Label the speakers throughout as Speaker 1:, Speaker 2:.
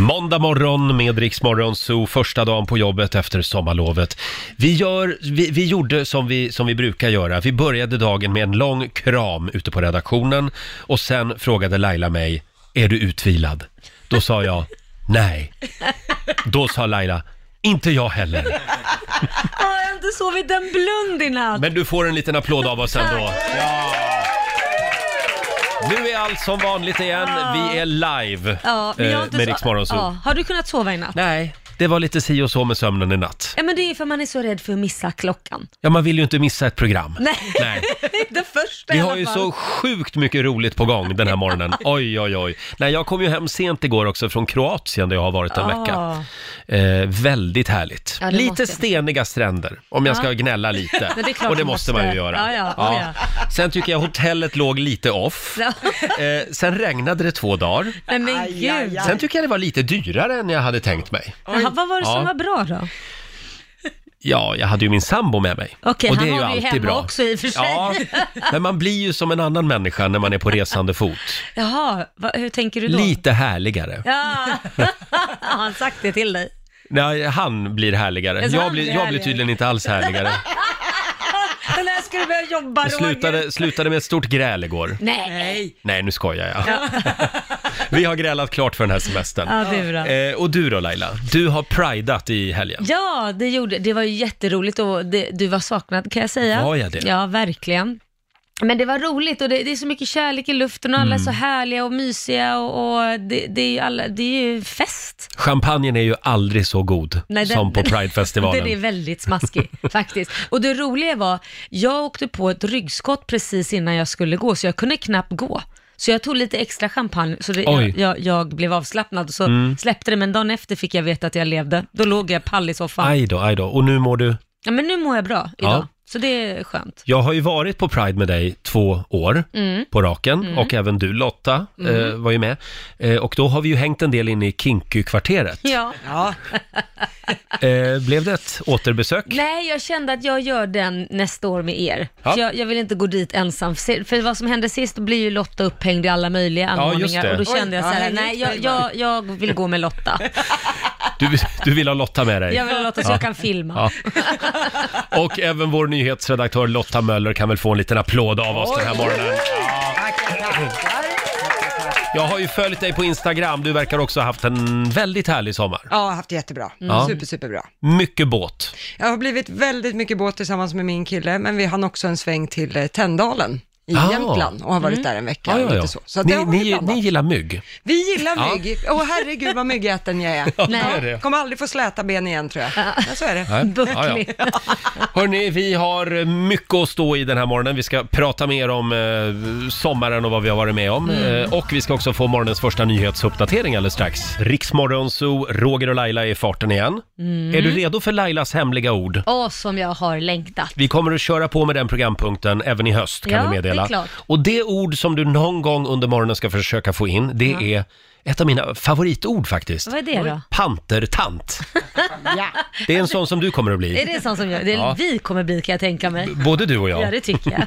Speaker 1: Måndag morgon med Rix Morgon Zoo, första dagen på jobbet efter sommarlovet. Vi, gör, vi, vi gjorde som vi, som vi brukar göra. Vi började dagen med en lång kram ute på redaktionen och sen frågade Laila mig, är du utvilad? Då sa jag, nej. Då sa Laila, inte jag heller.
Speaker 2: Ah, jag har inte sovit en blund i natt.
Speaker 1: Men du får en liten applåd av oss ändå. Nu är allt som vanligt igen. Vi är live
Speaker 2: Ja, men jag har
Speaker 1: eh,
Speaker 2: inte
Speaker 1: med
Speaker 2: so-
Speaker 1: Rix Morgon Zoo.
Speaker 2: Ja, Har du kunnat sova i natt?
Speaker 1: Nej, det var lite si och så med sömnen i natt.
Speaker 2: Ja, men det är för man är så rädd för att missa klockan.
Speaker 1: Ja, man vill ju inte missa ett program.
Speaker 2: Nej,
Speaker 1: Nej.
Speaker 2: det första
Speaker 1: Vi
Speaker 2: i
Speaker 1: har
Speaker 2: alla
Speaker 1: ju
Speaker 2: fall.
Speaker 1: så sjukt mycket roligt på gång den här morgonen. Oj, oj, oj. Nej, jag kom ju hem sent igår också från Kroatien där jag har varit en
Speaker 2: Ah.
Speaker 1: vecka. Eh, väldigt härligt.
Speaker 2: Ja, det måste
Speaker 1: lite
Speaker 2: jag.
Speaker 1: steniga stränder, om jag
Speaker 2: Ja.
Speaker 1: ska gnälla lite.
Speaker 2: Men det är klart
Speaker 1: Och det
Speaker 2: du
Speaker 1: måste
Speaker 2: måste.
Speaker 1: man ju göra.
Speaker 2: Ja, ja, ja,
Speaker 1: Sen tycker jag hotellet låg lite off.
Speaker 2: Ja.
Speaker 1: Eh, sen regnade det två dagar.
Speaker 2: Nej, men gud.
Speaker 1: Sen tycker jag det var lite dyrare än jag hade tänkt mig.
Speaker 2: Jaha, vad var det
Speaker 1: Ja.
Speaker 2: som var bra då?
Speaker 1: Ja, jag hade ju min sambo med mig.
Speaker 2: Okej,
Speaker 1: och det
Speaker 2: han
Speaker 1: är ju
Speaker 2: har vi ju hemma
Speaker 1: alltid bra.
Speaker 2: också i och för sig.
Speaker 1: Ja, men man blir ju som en annan människa när man är på resande fot.
Speaker 2: Jaha, va, hur tänker du då?
Speaker 1: Lite härligare.
Speaker 2: Ja, har han sagt det till dig?
Speaker 1: Nej, han blir härligare.
Speaker 2: Alltså,
Speaker 1: Jag
Speaker 2: han
Speaker 1: blir,
Speaker 2: blir
Speaker 1: jag blir
Speaker 2: härligare.
Speaker 1: tydligen inte alls härligare.
Speaker 2: Den där ska du börja jobba,
Speaker 1: Jag
Speaker 2: Roger.
Speaker 1: slutade, slutade med ett stort gräl igår.
Speaker 2: Nej.
Speaker 1: Nej, nu skojar jag. Vi har grälat klart för den här semestern.
Speaker 2: Ja, det är bra.
Speaker 1: Eh, och du då Laila? Du har pridat i helgen.
Speaker 2: Ja, det gjorde Det var ju jätteroligt och det, du var saknad kan jag säga.
Speaker 1: Var jag det?
Speaker 2: Ja, verkligen. Men det var roligt och det, det är så mycket kärlek i luften och alla är så
Speaker 1: Mm.
Speaker 2: härliga och mysiga och, och det, det, är ju alla, det är ju fest.
Speaker 1: Champagnen är ju aldrig så god
Speaker 2: Nej, den-
Speaker 1: som på
Speaker 2: den-
Speaker 1: Pridefestivalen.
Speaker 2: Den är väldigt smaskig faktiskt. Och det roliga var, jag åkte på ett ryggskott precis innan jag skulle gå, så jag kunde knappt gå. Så jag tog lite extra champagne, så det,
Speaker 1: Oj. Mm.
Speaker 2: jag, jag, jag blev avslappnad och så släppte det, men dagen efter fick jag veta att jag levde. Då låg jag pall i soffan.
Speaker 1: Aj då, aj då. Och nu mår du?
Speaker 2: Ja, men nu mår jag bra idag,
Speaker 1: Ja.
Speaker 2: så det är skönt.
Speaker 1: Jag har ju varit på Pride med dig två år
Speaker 3: Mm.
Speaker 1: på raken och även du Lotta eh, var ju med. Eh, och då har vi ju hängt en del inne i Kinkykvarteret.
Speaker 2: Ja.
Speaker 1: Eh, blev det ett återbesök?
Speaker 2: Nej, jag kände att jag gör den nästa år med er.
Speaker 1: Ja.
Speaker 2: För jag, jag vill inte gå dit ensam. Se- För vad som hände sist, då blir ju Lotta upphängd i alla möjliga
Speaker 1: just
Speaker 2: anordningar.
Speaker 1: det.
Speaker 2: och då
Speaker 1: Oj,
Speaker 2: kände jag så
Speaker 3: ja,
Speaker 2: här,
Speaker 3: hej,
Speaker 2: nej, jag,
Speaker 3: hej,
Speaker 2: jag, jag vill gå med Lotta.
Speaker 1: Du, du vill ha Lotta med dig?
Speaker 2: Jag vill ha Lotta så jag kan filma.
Speaker 1: Ja. Och även vår nyhetsredaktör Lotta Möller kan väl få en liten applåd av oss den här morgonen. Jag har ju följt dig på Instagram, du verkar också ha haft en väldigt härlig sommar.
Speaker 3: Ja, jag har haft det jättebra.
Speaker 1: Mm. Ja.
Speaker 3: Super, superbra.
Speaker 1: Mycket båt.
Speaker 3: Jag har blivit väldigt mycket båt tillsammans med min kille, men vi hann också en sväng till eh, Tänndalen i
Speaker 1: Ah.
Speaker 3: Jämtland och har varit där en vecka. och Lite så. så att det
Speaker 1: Ni,
Speaker 3: har varit
Speaker 1: ni,
Speaker 3: blandat.
Speaker 1: ni gillar mygg?
Speaker 3: Vi
Speaker 1: Ja.
Speaker 3: gillar mygg. Åh herregud vad myggäten jag är.
Speaker 1: Ja,
Speaker 2: Nej.
Speaker 1: det är det.
Speaker 3: Kommer aldrig få släta ben igen tror jag. Ja, så är det.
Speaker 1: Nej.
Speaker 2: Bucklig.
Speaker 1: Ja, ja. Hörni, vi har mycket att stå i den här morgonen. Vi ska prata mer om eh, sommaren och vad vi har varit med om.
Speaker 2: Mm.
Speaker 1: Eh, och vi ska också få morgonens första nyhetsuppdatering alldeles strax. Riksmorgon Zoo, Roger och Laila är i farten igen.
Speaker 2: Mm.
Speaker 1: Är du redo för Lailas hemliga ord?
Speaker 2: Åh, som jag har längtat.
Speaker 1: Vi kommer att köra på med den programpunkten även i höst kan
Speaker 2: Ja,
Speaker 1: vi meddela.
Speaker 2: det är klart.
Speaker 1: Och det ord som du någon gång under morgonen ska försöka få in, det är ett av mina favoritord faktiskt.
Speaker 2: Vad är det då?
Speaker 1: Pantertant. Det är en sån som du kommer att bli.
Speaker 2: Är det sånt som jag, det är,
Speaker 1: Ja.
Speaker 2: vi kommer bli kan jag tänka mig.
Speaker 1: Både du och jag.
Speaker 2: Ja, det tycker jag.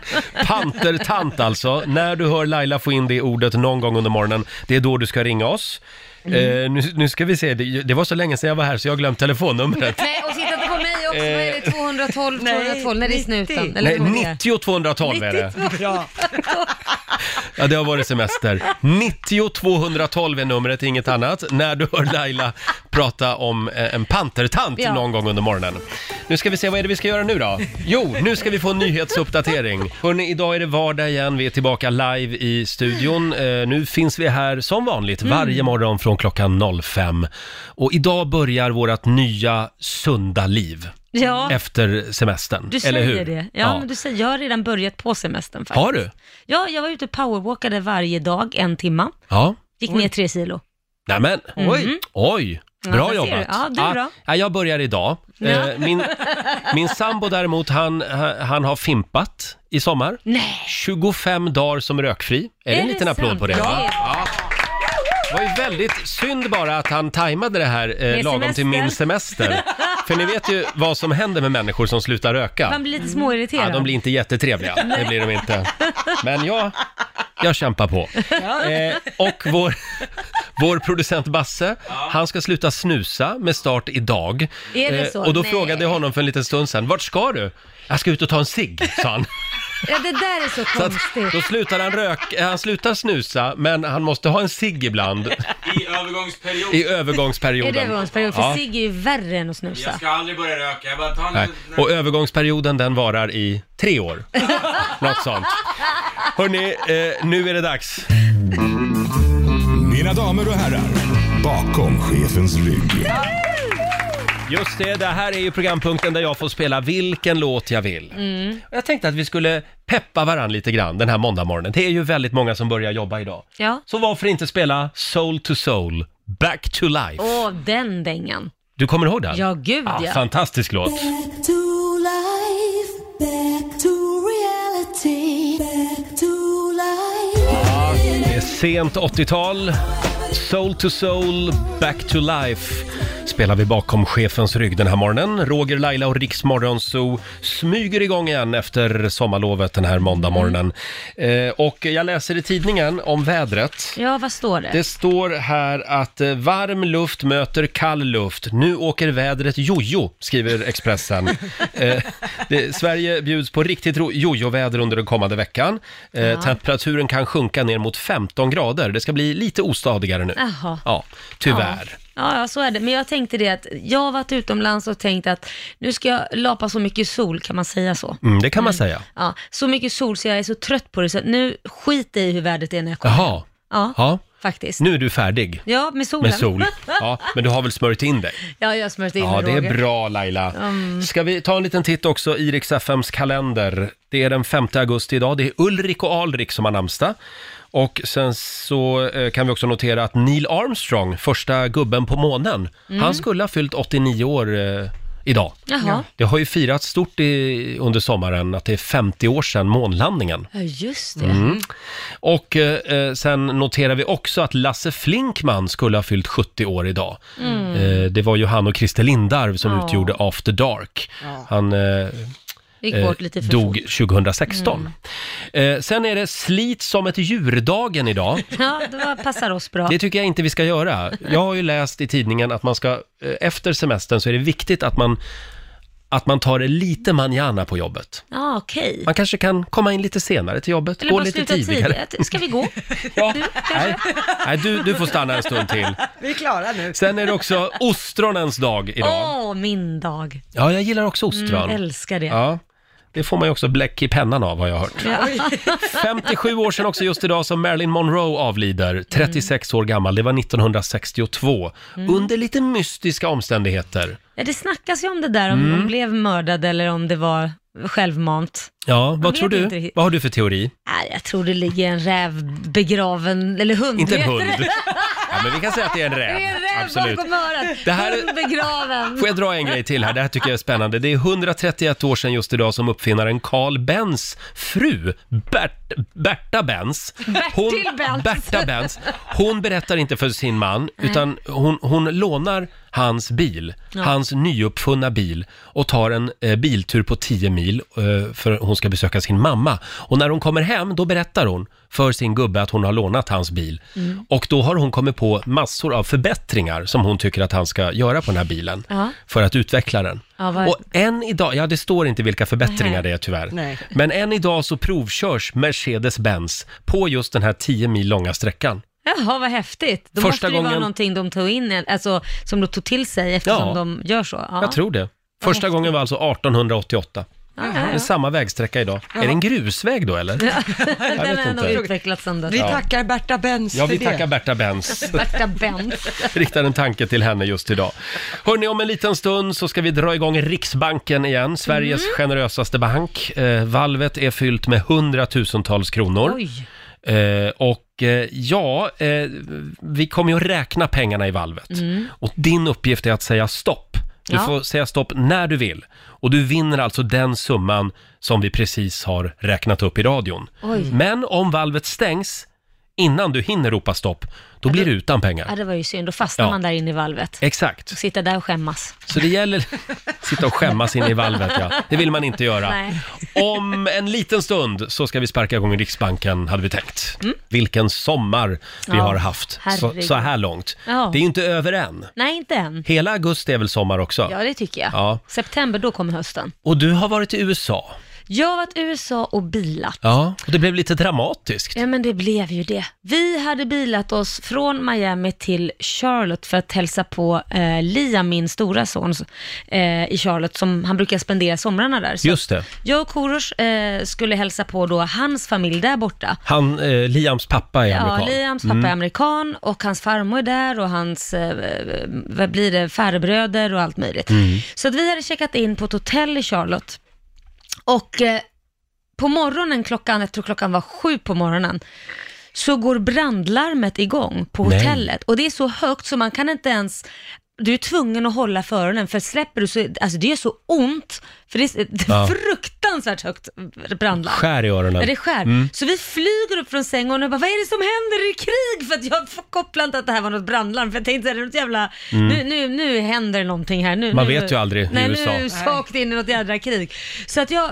Speaker 1: Pantertant alltså. När du hör Laila få in det ordet någon gång under morgonen, det är då du ska ringa oss.
Speaker 2: Mm.
Speaker 1: Eh, nu, nu ska vi se, det, det var så länge sedan jag var här så jag har glömt telefonnumret.
Speaker 2: Nej, och titta inte på mig också. Vad är det? 212, 212? Nej, det är
Speaker 3: 90.
Speaker 2: snuten. Eller
Speaker 1: Eh. Nej,
Speaker 2: vad är det?
Speaker 1: 90 212 är det.
Speaker 3: Bra.
Speaker 1: Ja, det har varit semester. 90 212 är numret, inget annat. När du hör Laila prata om eh, en pantertant
Speaker 2: Ja.
Speaker 1: någon gång under morgonen. Nu ska vi se, vad är det vi ska göra nu då? Jo, nu ska vi få en nyhetsuppdatering. Hörrni, idag är det vardag igen. Vi är tillbaka live i studion. Eh, nu finns vi här som vanligt
Speaker 2: Mm.
Speaker 1: varje morgon från klockan 05. Och idag börjar vårt nya sunda liv
Speaker 2: Ja,
Speaker 1: efter semestern.
Speaker 2: du
Speaker 1: eller
Speaker 2: säger
Speaker 1: hur?
Speaker 2: det. Ja,
Speaker 1: Ja.
Speaker 2: men du säger, jag har redan börjat på semestern faktiskt.
Speaker 1: Har du?
Speaker 2: Ja, jag var ute och powerwalkade varje dag en timma.
Speaker 1: Ja.
Speaker 2: Gick ner tre kilo.
Speaker 1: Nämen, oj, oj.
Speaker 2: Mm. Ja,
Speaker 1: Bra
Speaker 2: där ser
Speaker 1: jobbat. Ah,
Speaker 2: du. Ja, du då?
Speaker 1: ja, jag börjar idag. Eh, Min, min sambo däremot, han, han- han har fimpat i sommar.
Speaker 2: Nej!
Speaker 1: 25 dagar som rökfri. Är, det en liten applåd på det?
Speaker 2: sant?
Speaker 1: va?
Speaker 2: Ja.
Speaker 1: Det var ju väldigt synd bara att han tajmade det här eh,
Speaker 2: Med
Speaker 1: lagom till min
Speaker 2: semester.
Speaker 1: semester. För ni vet ju vad som händer med människor som slutar röka.
Speaker 2: Man blir lite småirriterad.
Speaker 1: Mm. Ja, de blir inte jättetrevliga, det blir de inte. Men jag, jag kämpar på. Eh, och vår, vår producent Basse, han ska sluta snusa med start idag. Eh,
Speaker 2: Är det så?
Speaker 1: och då
Speaker 2: Nej.
Speaker 1: frågade jag honom för en liten stund sedan, vart ska du? Jag ska ut och ta en cigg, sa han.
Speaker 2: Ja, det där är så
Speaker 1: Så att,
Speaker 2: konstigt.
Speaker 1: då slutar han röka, han slutar snusa, men han måste ha en cigg ibland
Speaker 4: I övergångsperiod.
Speaker 1: i övergångsperioden.
Speaker 2: Är det övergångsperiod? För
Speaker 1: Ja.
Speaker 2: cigg är ju värre än att snusa.
Speaker 4: Jag ska aldrig börja röka, jag bara tar en...
Speaker 1: Nej. Och övergångsperioden den varar i tre år. Något sånt. Hörni, eh, nu är det dags.
Speaker 5: Mina damer och herrar, bakom chefens rygg.
Speaker 1: Just det, det här är ju programpunkten där jag får spela vilken låt jag vill.
Speaker 2: Mm.
Speaker 1: Och Jag tänkte att vi skulle peppa varann lite grann den här måndagmorgonen. Det är ju väldigt många som börjar jobba idag.
Speaker 2: Ja.
Speaker 1: Så varför inte spela Soul to Soul, Back to Life?
Speaker 2: Åh, den dängan.
Speaker 1: Du kommer ihåg den?
Speaker 2: Ja, gud
Speaker 1: Ah,
Speaker 2: ja.
Speaker 1: Fantastisk låt.
Speaker 6: Back to life, back to reality, back to life.
Speaker 1: Det är sent 80-tal. Soul to soul, back to life spelar vi bakom chefens rygg den här morgonen. Roger, Laila och Riks Morgonzoo smyger igång igen efter sommarlovet den här måndagmorgonen. Eh, och jag läser i tidningen om vädret.
Speaker 2: Ja, vad står det?
Speaker 1: Det står här att eh, varm luft möter kall luft. Nu åker vädret jojo, skriver Expressen. eh, det, Sverige bjuds på riktigt ro- jojo-väder under den kommande veckan. Eh, Temperaturen kan sjunka ner mot 15 grader. Det ska bli lite ostadigare nu.
Speaker 2: Jaha.
Speaker 1: Ja, tyvärr.
Speaker 2: Ja, ja, så är det. Men jag tänkte det att jag har varit utomlands och tänkt att nu ska jag lapa så mycket sol, kan man säga så?
Speaker 1: Mm, det kan man säga.
Speaker 2: Ja, så mycket sol så jag är så trött på det så att nu skiter jag i hur vädret är när jag kommer.
Speaker 1: Jaha,
Speaker 2: Ja,
Speaker 1: ja.
Speaker 2: faktiskt.
Speaker 1: nu är du färdig
Speaker 2: Ja, med solen.
Speaker 1: med sol. Ja, men du har väl smörjt in dig?
Speaker 2: Ja, jag har smörjt in
Speaker 1: Ja,
Speaker 2: mig,
Speaker 1: det är
Speaker 2: Roger.
Speaker 1: bra Laila. Ska vi ta en liten titt också i Rix FMs kalender. Det är den 5 augusti idag. Det är Ulrik och Alrik som har namnsdag. Och sen så eh, kan vi också notera att Neil Armstrong, första gubben på månen, han skulle ha fyllt 89 år eh, idag.
Speaker 2: Jaha.
Speaker 1: Det har ju firats stort i, under sommaren att det är 50 år sedan månlandningen.
Speaker 2: Ja, just det.
Speaker 1: Mm. Och eh, eh, sen noterar vi också att Lasse Flinkman skulle ha fyllt 70 år idag. Eh, det var ju han och Christer Lindarw som
Speaker 2: Mm. Ja.
Speaker 1: utgjorde After Dark. Han eh,
Speaker 2: Det gick
Speaker 1: eh,
Speaker 2: bort lite för
Speaker 1: dog
Speaker 2: fort. Mm.
Speaker 1: 2016. Eh, sen är det slit som ett djurdagen idag.
Speaker 2: Ja, det var, passar oss bra.
Speaker 1: Det tycker jag inte vi ska göra. Jag har ju läst i tidningen att man ska, eh, efter semestern så är det viktigt att man, att man tar det lite manjana på jobbet.
Speaker 2: Ja, okej.
Speaker 1: Man kanske kan komma in lite senare till jobbet,
Speaker 2: Eller
Speaker 1: gå
Speaker 2: bara
Speaker 1: lite
Speaker 2: sluta
Speaker 1: tidigare.
Speaker 2: tidigt. Ska vi gå?
Speaker 1: Ja, nej, nej du, du får stanna en stund till.
Speaker 3: Vi är klara nu.
Speaker 1: Sen är det också ostronens dag idag.
Speaker 2: Åh, min dag.
Speaker 1: Ja, jag gillar också
Speaker 2: Jag
Speaker 1: ostron.
Speaker 2: älskar det.
Speaker 1: Ja, det får man ju också bläck i pennan av har jag hört.
Speaker 2: Ja.
Speaker 1: 57 år sedan också just idag som Marilyn Monroe
Speaker 2: Mm.
Speaker 1: avlider, 36 år gammal. Det var 1962,
Speaker 2: Mm.
Speaker 1: under lite mystiska omständigheter.
Speaker 2: Ja, det snackas ju om det där, om
Speaker 1: Mm.
Speaker 2: hon blev mördad eller om det var självmant.
Speaker 1: Ja, vad
Speaker 2: vet
Speaker 1: tror
Speaker 2: inte
Speaker 1: du?
Speaker 2: riktigt.
Speaker 1: Vad har du för teori?
Speaker 2: Nej, jag tror det ligger en räv begraven, eller hund.
Speaker 1: Inte en
Speaker 2: heter
Speaker 1: hund.
Speaker 2: det.
Speaker 1: Ja, men vi kan säga att det är en
Speaker 2: Det är en
Speaker 1: räv.
Speaker 2: räv
Speaker 1: Absolut.
Speaker 2: bakom örat.
Speaker 1: Det här är-
Speaker 2: Hund begraven.
Speaker 1: Får jag dra en grej till här? Det här tycker jag är spännande. Det är 131 år sedan just idag som uppfinnaren Carl Bens fru, Bert, Berta Benz.
Speaker 2: Bertil Benz.
Speaker 1: Berta Benz. Hon berättar inte för sin man, utan hon, hon lånar hans bil, hans nyuppfunna bil och tar en eh, biltur på 10 mil eh, för hon ska besöka sin mamma. Och när hon kommer hem, då berättar hon för sin gubbe att hon har lånat hans bil.
Speaker 2: Mm.
Speaker 1: Och då har hon kommit på massor av förbättringar som hon tycker att han ska göra på den här bilen
Speaker 2: Ja.
Speaker 1: för att utveckla den.
Speaker 2: Ja, vad-
Speaker 1: Och än idag, ja det står inte vilka förbättringar
Speaker 2: Nej.
Speaker 1: det är tyvärr,
Speaker 3: Nej.
Speaker 1: men än idag så provkörs Mercedes-Benz på just den här 10 mil långa sträckan.
Speaker 2: Jaha, vad häftigt. Då
Speaker 1: Första
Speaker 2: måste det
Speaker 1: gången-
Speaker 2: vara någonting de tog in, alltså som de tog till sig eftersom
Speaker 1: Ja.
Speaker 2: de gör så. Ja.
Speaker 1: Jag tror det. Första gången var alltså 1888.
Speaker 2: Ja,
Speaker 1: Det är
Speaker 2: ja,
Speaker 1: samma vägsträcka idag. Är det en grusväg då eller?
Speaker 2: ja. Den
Speaker 1: vet
Speaker 2: har nog
Speaker 1: inte.
Speaker 2: utvecklats sen dess.
Speaker 3: Vi tackar Berta Benz
Speaker 1: Ja,
Speaker 3: för
Speaker 1: vi
Speaker 3: det.
Speaker 1: tackar Berta Benz.
Speaker 2: Svarta Benz.
Speaker 1: Riktar en tanke till henne just idag. Hörni, om en liten stund så ska vi dra igång Riksbanken igen, Sveriges
Speaker 2: Mm.
Speaker 1: generösaste bank. Eh, valvet är fyllt med hundratusentals kronor.
Speaker 2: Oj.
Speaker 1: Eh, och eh, ja, eh, vi kommer ju att räkna pengarna i valvet. Och din uppgift är att säga stopp. Du
Speaker 2: Mm. Ja.
Speaker 1: får säga stopp när du vill. Och du vinner alltså den summan som vi precis har räknat upp i radion.
Speaker 2: Oj.
Speaker 1: Men om valvet stängs, innan du hinner ropa stopp, då blir du utan
Speaker 2: Ja,
Speaker 1: pengar.
Speaker 2: det var ju synd. Då fastnar
Speaker 1: Ja.
Speaker 2: man där inne i valvet.
Speaker 1: Exakt.
Speaker 2: Sitta där och skämmas.
Speaker 1: Så det gäller sitta och skämmas inne i valvet, ja. Det vill man inte göra.
Speaker 2: Nej.
Speaker 1: Om en liten stund så ska vi sparka igång Riksbanken, hade vi tänkt. Vilken sommar vi
Speaker 2: Mm. Ja,
Speaker 1: har haft så,
Speaker 2: herregud.
Speaker 1: så här långt.
Speaker 2: Ja.
Speaker 1: Det är ju inte över än.
Speaker 2: Nej, inte än.
Speaker 1: Hela augusti är väl sommar också?
Speaker 2: Ja, det tycker jag.
Speaker 1: Ja.
Speaker 2: September, då kommer hösten.
Speaker 1: Och du har varit i USA.
Speaker 2: Jag har varit i USA och bilat.
Speaker 1: Ja. Och det blev lite dramatiskt.
Speaker 2: Ja, men det blev ju det. Vi hade bilat oss från Miami till Charlotte för att hälsa på eh, Liam, min stora son, eh, i Charlotte, som han brukar spendera somrarna där. Så
Speaker 1: Just det.
Speaker 2: Jag och Korosh eh, skulle hälsa på då hans familj där borta.
Speaker 1: Han, eh, Liams pappa är
Speaker 2: Ja,
Speaker 1: amerikan. Mm.
Speaker 2: Liams pappa är amerikan och hans farmor är där och hans, eh, vad blir det, farbröder och allt möjligt.
Speaker 1: Mm.
Speaker 2: Så att vi hade checkat in på ett hotell i Charlotte och eh, på morgonen klockan, jag tror klockan var sju på morgonen, så går brandlarmet igång på
Speaker 1: Nej.
Speaker 2: hotellet och det är så högt så man kan inte ens du är tvungen att hålla för öronen för släpper du så, alltså det gör så ont, för det är det är
Speaker 1: Ja.
Speaker 2: fruktansvärt högt brandlarm.
Speaker 1: Skär i öronen.
Speaker 2: Ja, det skär.
Speaker 1: Mm.
Speaker 2: Så vi flyger upp från sängen och bara, vad är det som händer? Är det krig? För att jag får- kopplade inte att det här var något brandlarm. För jag tänkte, är det något jävla, nu, nu, nu händer någonting här. Nu,
Speaker 1: Mm. Man
Speaker 2: nu,
Speaker 1: vet ju aldrig i
Speaker 2: Nej,
Speaker 1: USA.
Speaker 2: nu saknade in i något jävla krig. Så att jag,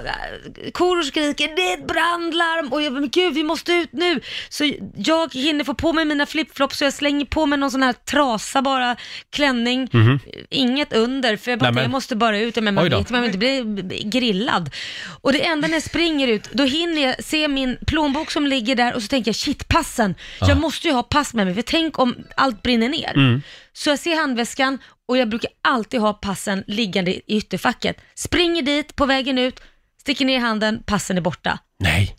Speaker 2: koror skriker, det är ett brandlarm och jag bara, men gud vi måste ut nu. Så jag hinner få på mig mina flipflops så jag slänger på mig någon sån här trasa bara, klänning, inget under. För jag bara,
Speaker 1: Mhm. Nej, men-
Speaker 2: jag måste bara ut, men
Speaker 1: Oj
Speaker 2: man
Speaker 1: då.
Speaker 2: vet, man vill inte bli grillad. Och det enda när jag springer ut, då hinner jag se min plånbok som ligger där och så tänker jag shit, passen. Jag måste ju ha pass med mig, för tänk om allt brinner ner.
Speaker 1: Mm.
Speaker 2: Så jag ser handväskan och jag brukar alltid ha passen liggande i ytterfacket. Springer dit på vägen ut, sticker ner handen, passen är borta.
Speaker 1: Nej.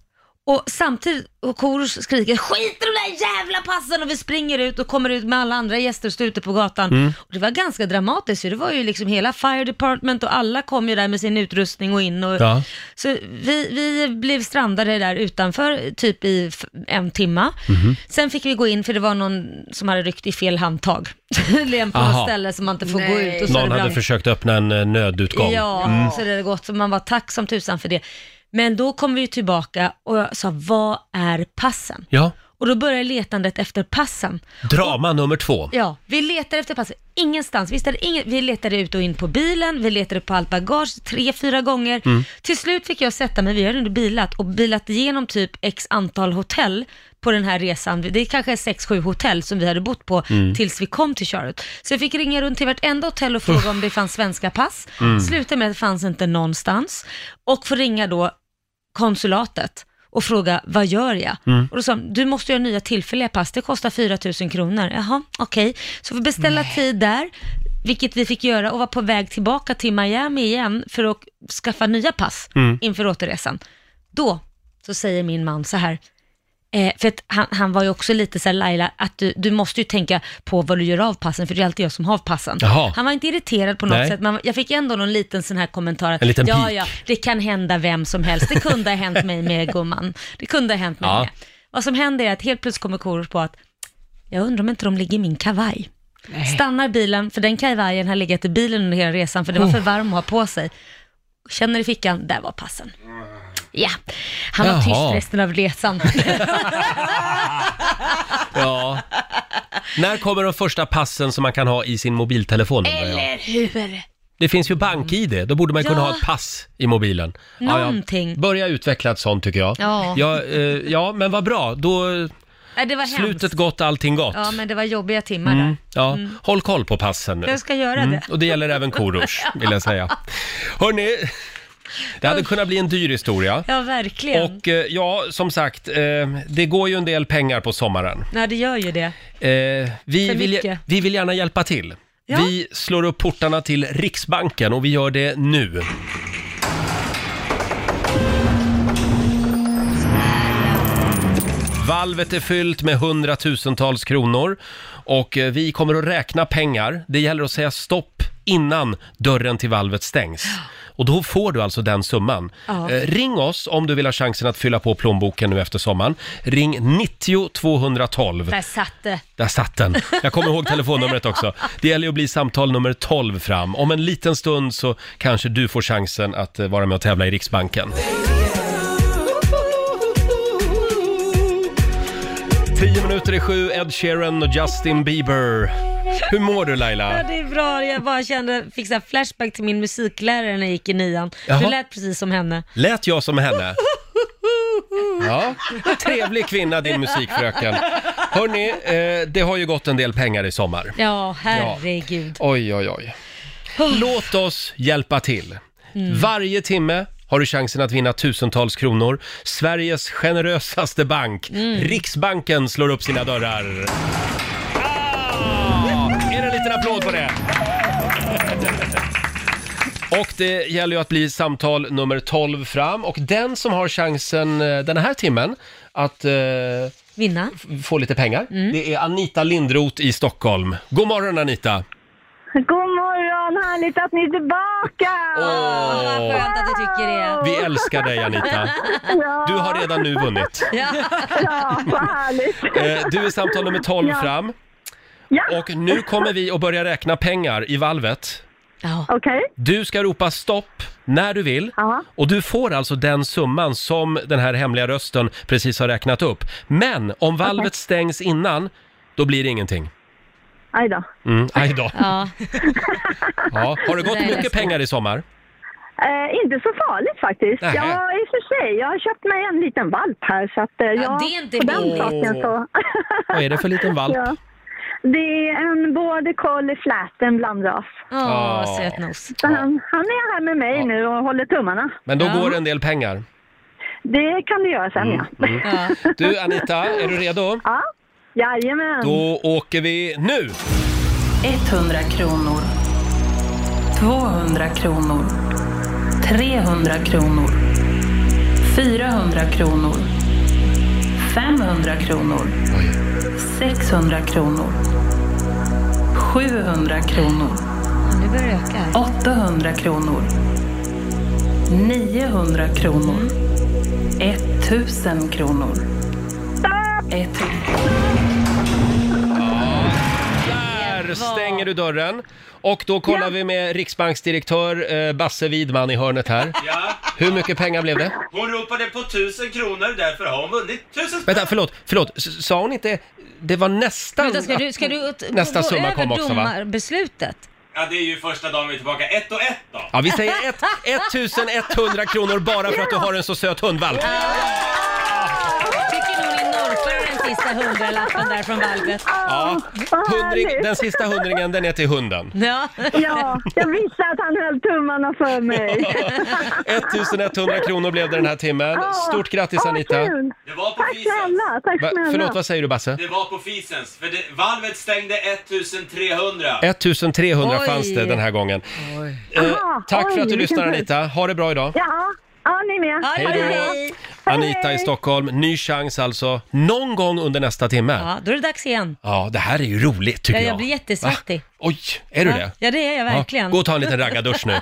Speaker 2: Och samtidigt, och Korosh skriker skit i de där jävla passen och vi springer ut och kommer ut med alla andra gäster och står ute på gatan.
Speaker 1: Mm.
Speaker 2: Och det var ganska dramatiskt ju. det var ju liksom hela fire department och alla kom ju där med sin utrustning och in och...
Speaker 1: Ja.
Speaker 2: Så vi, vi blev strandade där utanför typ i f- en timma.
Speaker 1: Mhm.
Speaker 2: Sen fick vi gå in för det var någon som hade ryckt i fel handtag. Tydligen på
Speaker 1: Aha.
Speaker 2: något ställe som man inte får gå ut. Och så
Speaker 1: Någon
Speaker 2: brann-
Speaker 1: hade försökt öppna en eh, nödutgång.
Speaker 2: Ja, så det hade gått. Så man var tacksam tusan för det. Men då kom vi ju tillbaka och jag sa, vad är passen?
Speaker 1: ja.
Speaker 2: Och då började letandet efter passen.
Speaker 1: Drama nummer två.
Speaker 2: Ja, vi letade efter passen ingenstans. Vi, hittade ingen, vi letade ut och in på bilen, vi letade på allt bagage tre, fyra gånger. Till slut fick jag sätta mig, vi hade inte bilat, och bilat igenom typ x antal hotell på den här resan. Det är kanske sex, sju hotell som vi hade bott på tills vi kom till Charlotte. Så jag fick ringa runt till vartenda hotell och fråga om det fanns svenska pass. Slutade med att det fanns inte någonstans. Och få ringa då konsulatet och fråga vad gör jag?
Speaker 1: Mm.
Speaker 2: Och då sa de, du måste göra nya tillfälliga pass, det kostar 4 000 kronor. Jaha, okej. Så vi beställa tid där, vilket vi fick göra och var på väg tillbaka till Miami igen för att skaffa nya pass
Speaker 1: Mm.
Speaker 2: inför återresan. Då så säger min man så här, eh, för att han, han var ju också lite så här Laila, att du, du måste ju tänka på vad du gör av passen, för det är alltid jag som har passen.
Speaker 1: Jaha.
Speaker 2: Han var inte irriterad på något
Speaker 1: Nej.
Speaker 2: sätt, men jag fick ändå någon liten sån här kommentar att
Speaker 1: En liten
Speaker 2: ja,
Speaker 1: pik.
Speaker 2: ja, det kan hända vem som helst. Det kunde ha hänt mig med gumman. Det kunde ha hänt mig
Speaker 1: Ja.
Speaker 2: med. Vad som händer är att helt plötsligt kommer Korosh på att jag undrar om inte de ligger i min kavaj. Stannar bilen, för den kavajen har legat i bilen under hela resan för den
Speaker 1: Oh.
Speaker 2: var för varm att ha på sig. Känner i fickan, där var passen. Ja, han var
Speaker 1: Jaha.
Speaker 2: tyst resten av resan.
Speaker 1: Ja. När kommer de första passen som man kan ha i sin mobiltelefon? undrar jag?
Speaker 2: Eller hur?
Speaker 1: Det finns ju bank-id, då borde man kunna
Speaker 2: Ja.
Speaker 1: ha ett pass i mobilen. Ja, ja.
Speaker 2: Någonting.
Speaker 1: Börja utveckla ett sånt tycker jag.
Speaker 2: Ja.
Speaker 1: Ja, eh, ja men vad bra. Då
Speaker 2: Nej, det var
Speaker 1: slutet Mm.
Speaker 2: hemskt.
Speaker 1: gott, allting gott.
Speaker 2: Ja, men det var jobbiga timmar där.
Speaker 1: Ja, håll koll på passen nu. Mm.
Speaker 2: Jag ska göra det.
Speaker 1: Och det gäller även Korosh, vill jag säga. Hörni, det hade kunnat bli en dyr historia.
Speaker 2: Ja, verkligen.
Speaker 1: Och eh, ja, som sagt, eh, det går ju en del pengar på sommaren.
Speaker 2: Nej, det gör ju det.
Speaker 1: Eh, vi,
Speaker 2: För
Speaker 1: vill,
Speaker 2: mycket.
Speaker 1: vi vill gärna hjälpa till.
Speaker 2: Ja.
Speaker 1: Vi slår upp portarna till Riksbanken och vi gör det nu. Valvet är fyllt med hundratusentals kronor och eh, vi kommer att räkna pengar. Det gäller att säga stopp innan dörren till valvet stängs. Och då får du alltså den summan.
Speaker 2: Ja.
Speaker 1: Eh, Ring oss om du vill ha chansen att fylla på plånboken nu efter sommaren. Ring 90 212.
Speaker 2: Där satt det.
Speaker 1: Där satt den. Jag kommer ihåg telefonnumret också. Det gäller ju att bli samtal nummer 12 fram. Om en liten stund så kanske du får chansen att eh, vara med och tävla i Riksbanken. Tio minuter i sju, Ed Sheeran och Justin Bieber. Hur mår du
Speaker 2: Ja,
Speaker 1: Laila?
Speaker 2: det är bra. Jag bara kände, fick så här flashback till min musiklärare när jag gick i nian.
Speaker 1: Jaha.
Speaker 2: Du lät precis som henne.
Speaker 1: Lät jag som henne? Ja, trevlig kvinna din musikfröken. Hörni, eh, det har ju gått en del pengar i sommar.
Speaker 2: Ja, herregud.
Speaker 1: Oj, oj, oj. Låt oss hjälpa till. Varje timme har du chansen att vinna tusentals kronor. Sveriges generösaste bank, Riksbanken, slår upp sina dörrar. Ah! Är det en liten applåd på det? Och det gäller ju att bli samtal nummer 12 fram och den som har chansen eh, den här timmen att eh,
Speaker 2: Vinna.
Speaker 1: få lite pengar, det är Anita Lindroth i Stockholm. God morgon Anita!
Speaker 7: God morgon, härligt att ni är tillbaka!
Speaker 2: Åh, vad
Speaker 1: Åh,
Speaker 2: skönt att du tycker det.
Speaker 1: vi älskar dig Anita.
Speaker 7: Ja,
Speaker 1: Du har redan nu vunnit.
Speaker 2: Ja.
Speaker 7: ja, vad härligt!
Speaker 1: Eh, Du är samtal nummer 12 fram
Speaker 7: Ja,
Speaker 1: och nu kommer vi att börja räkna pengar i valvet.
Speaker 2: Ja.
Speaker 7: okej.
Speaker 1: Du ska ropa stopp när du vill
Speaker 7: Ja.
Speaker 1: och du får alltså den summan som den här hemliga rösten precis har räknat upp. Men om valvet stängs innan, då blir det ingenting.
Speaker 7: Aj då.
Speaker 1: Mm, aj då.
Speaker 2: Ja.
Speaker 1: Ja. Har det
Speaker 2: Det
Speaker 1: gått
Speaker 2: där är
Speaker 1: mycket
Speaker 2: läskigt.
Speaker 1: pengar i sommar?
Speaker 7: Eh, inte så farligt faktiskt.
Speaker 1: Nähä.
Speaker 7: Ja, i och för sig. Jag har köpt mig en liten valp här så att eh, ja,
Speaker 2: det är inte
Speaker 7: på den
Speaker 2: billigt.
Speaker 7: saken så.
Speaker 1: Vad är det för liten valp?
Speaker 7: ja. Det är en border collie flatten blandras.
Speaker 2: Åh, sötnos.
Speaker 7: Så han, han är här med mig nu och håller tummarna.
Speaker 1: Men då
Speaker 2: Ja.
Speaker 1: går en del pengar.
Speaker 7: Det kan du göra sen ja.
Speaker 1: Mm,
Speaker 2: Ja.
Speaker 1: Du Anita, är du redo?
Speaker 7: ja. Jajamän.
Speaker 1: Då åker vi nu!
Speaker 8: 100 kronor. 200 kronor. 300 kronor. 400 kronor. 500 kronor. 600 kronor. 700 kronor.
Speaker 2: Nu börjar det öka.
Speaker 8: 800 kronor. 900 kronor. 1000 kronor. Ett
Speaker 1: Där stänger du dörren. Och då kollar vi med Riksbanksdirektör eh, Basse Widman i hörnet här.
Speaker 4: Ja,
Speaker 1: Hur mycket pengar blev det?
Speaker 4: hon ropade på tusen kronor, därför har hon vunnit tusen spänn.
Speaker 1: Vänta, förlåt, förlåt. S- Sa hon inte... Det var nästan...
Speaker 2: Vänta, ska du, ska du
Speaker 1: att- nästa
Speaker 2: gå
Speaker 1: summa
Speaker 2: över
Speaker 1: kom också va?
Speaker 2: domarbeslutet?
Speaker 4: Ja, det är ju första dagen vi är tillbaka. Ett och ett då.
Speaker 1: Ja, vi säger ett, 1100 kronor bara för att du har en så söt hundvalp.
Speaker 2: Jag tycker nog ni norpar den sista hundralappen där från valvet.
Speaker 1: Ja.
Speaker 7: Vad
Speaker 1: Hundring,
Speaker 7: härligt.
Speaker 1: den sista hundringen, den är till hunden.
Speaker 2: Ja.
Speaker 7: Ja, jag visste att han höll tummarna för mig.
Speaker 1: 1100 kronor blev det den här timmen. Stort grattis
Speaker 7: Åh,
Speaker 1: Anita.
Speaker 7: kul.
Speaker 4: Det var på
Speaker 7: Tack
Speaker 4: fisens.
Speaker 7: snälla, tack
Speaker 1: Va,
Speaker 7: snälla.
Speaker 1: förlåt, vad säger du Basse?
Speaker 4: Det var på fisens, för det, valvet stängde 1300.
Speaker 1: 1300 fanns
Speaker 2: Oj.
Speaker 1: det den här gången. Eh,
Speaker 7: Ah,
Speaker 1: tack för
Speaker 7: oj,
Speaker 1: att du
Speaker 7: vilken
Speaker 1: lyssnar
Speaker 7: tur.
Speaker 1: Anita. Ha det bra idag.
Speaker 7: Ja, ja ni med.
Speaker 2: Ja,
Speaker 1: Hej då. Anita i Stockholm, ny chans alltså. Någon gång under nästa timme.
Speaker 2: Ja, då är det dags igen.
Speaker 1: Ja, det här är ju roligt tycker
Speaker 2: Ja,
Speaker 1: jag.
Speaker 2: jag blir jättesvettig.
Speaker 1: Va? Oj, är du det?
Speaker 2: Ja, det är jag verkligen.
Speaker 1: Ja, gå och ta en liten raggardusch nu.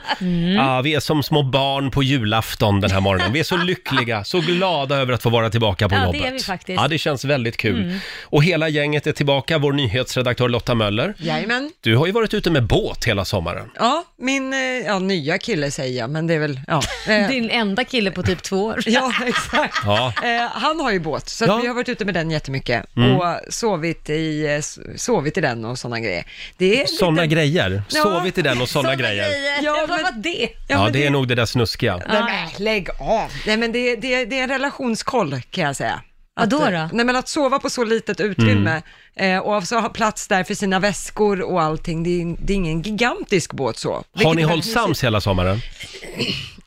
Speaker 1: Ja, vi är som små barn på julafton den här morgonen. Vi är så lyckliga, så glada över att få vara tillbaka på
Speaker 2: Ja, det
Speaker 1: jobbet.
Speaker 2: är vi faktiskt.
Speaker 1: Ja, det känns väldigt kul. Och hela gänget är tillbaka, vår nyhetsredaktör Lotta Möller.
Speaker 3: Jajamän.
Speaker 1: Du har ju varit ute med båt hela sommaren.
Speaker 3: Ja, min eh, ja, nya kille säger jag, men det är väl, ja. Eh,
Speaker 2: Din enda kille på typ två år.
Speaker 3: Ja, exakt.
Speaker 1: Ja.
Speaker 3: Eh, han har ju båt, så
Speaker 1: Ja. Mm.
Speaker 3: att vi har varit ute med den jättemycket och sovit i, eh, s- sovit i den och sådana grejer. Det är
Speaker 1: Sådana
Speaker 3: lite-
Speaker 1: grejer.
Speaker 3: Ja.
Speaker 1: Sovit i den och sådana grejer.
Speaker 2: Ja,
Speaker 3: Ja,
Speaker 2: Vad
Speaker 3: men-
Speaker 2: var det?
Speaker 1: Ja,
Speaker 3: men
Speaker 1: det är nog det där snuskiga.
Speaker 3: Nej, men, lägg av. Nej, men det, det, det är en relationskoll kan jag säga. Att,
Speaker 2: Vadå
Speaker 3: eh,
Speaker 2: då?
Speaker 3: Nej, men att sova på så litet utrymme
Speaker 1: Mm.
Speaker 3: eh, och så ha plats där för sina väskor och allting. Det är, det är ingen gigantisk båt så.
Speaker 1: Har
Speaker 3: Vilket
Speaker 1: ni
Speaker 3: är
Speaker 1: hållit
Speaker 3: väldigt
Speaker 1: sams hela sommaren?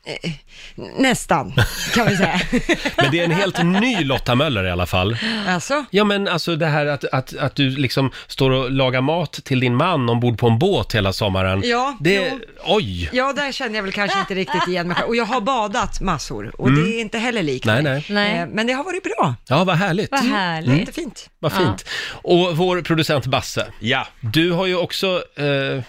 Speaker 3: mysigt. Nästan, kan vi säga.
Speaker 1: Men det är en helt ny Lotta Möller i alla fall.
Speaker 3: alltså?
Speaker 1: Ja men alltså det här att, att, att du liksom står och lagar mat till din man ombord på en båt hela sommaren.
Speaker 3: Ja,
Speaker 1: det,
Speaker 3: jo.
Speaker 1: Oj!
Speaker 3: Ja, där känner jag väl kanske inte riktigt igen mig själv. Och jag har badat massor och det är inte heller likt
Speaker 1: Nej,
Speaker 3: mig.
Speaker 1: nej.
Speaker 2: Nej. Mm.
Speaker 3: Eh, Men det har varit bra.
Speaker 1: Ja, vad härligt.
Speaker 2: Vad härligt.
Speaker 1: Mm.
Speaker 3: Jättefint.
Speaker 1: Vad fint. Och vår producent Basse,
Speaker 4: Ja.
Speaker 1: du har ju också eh,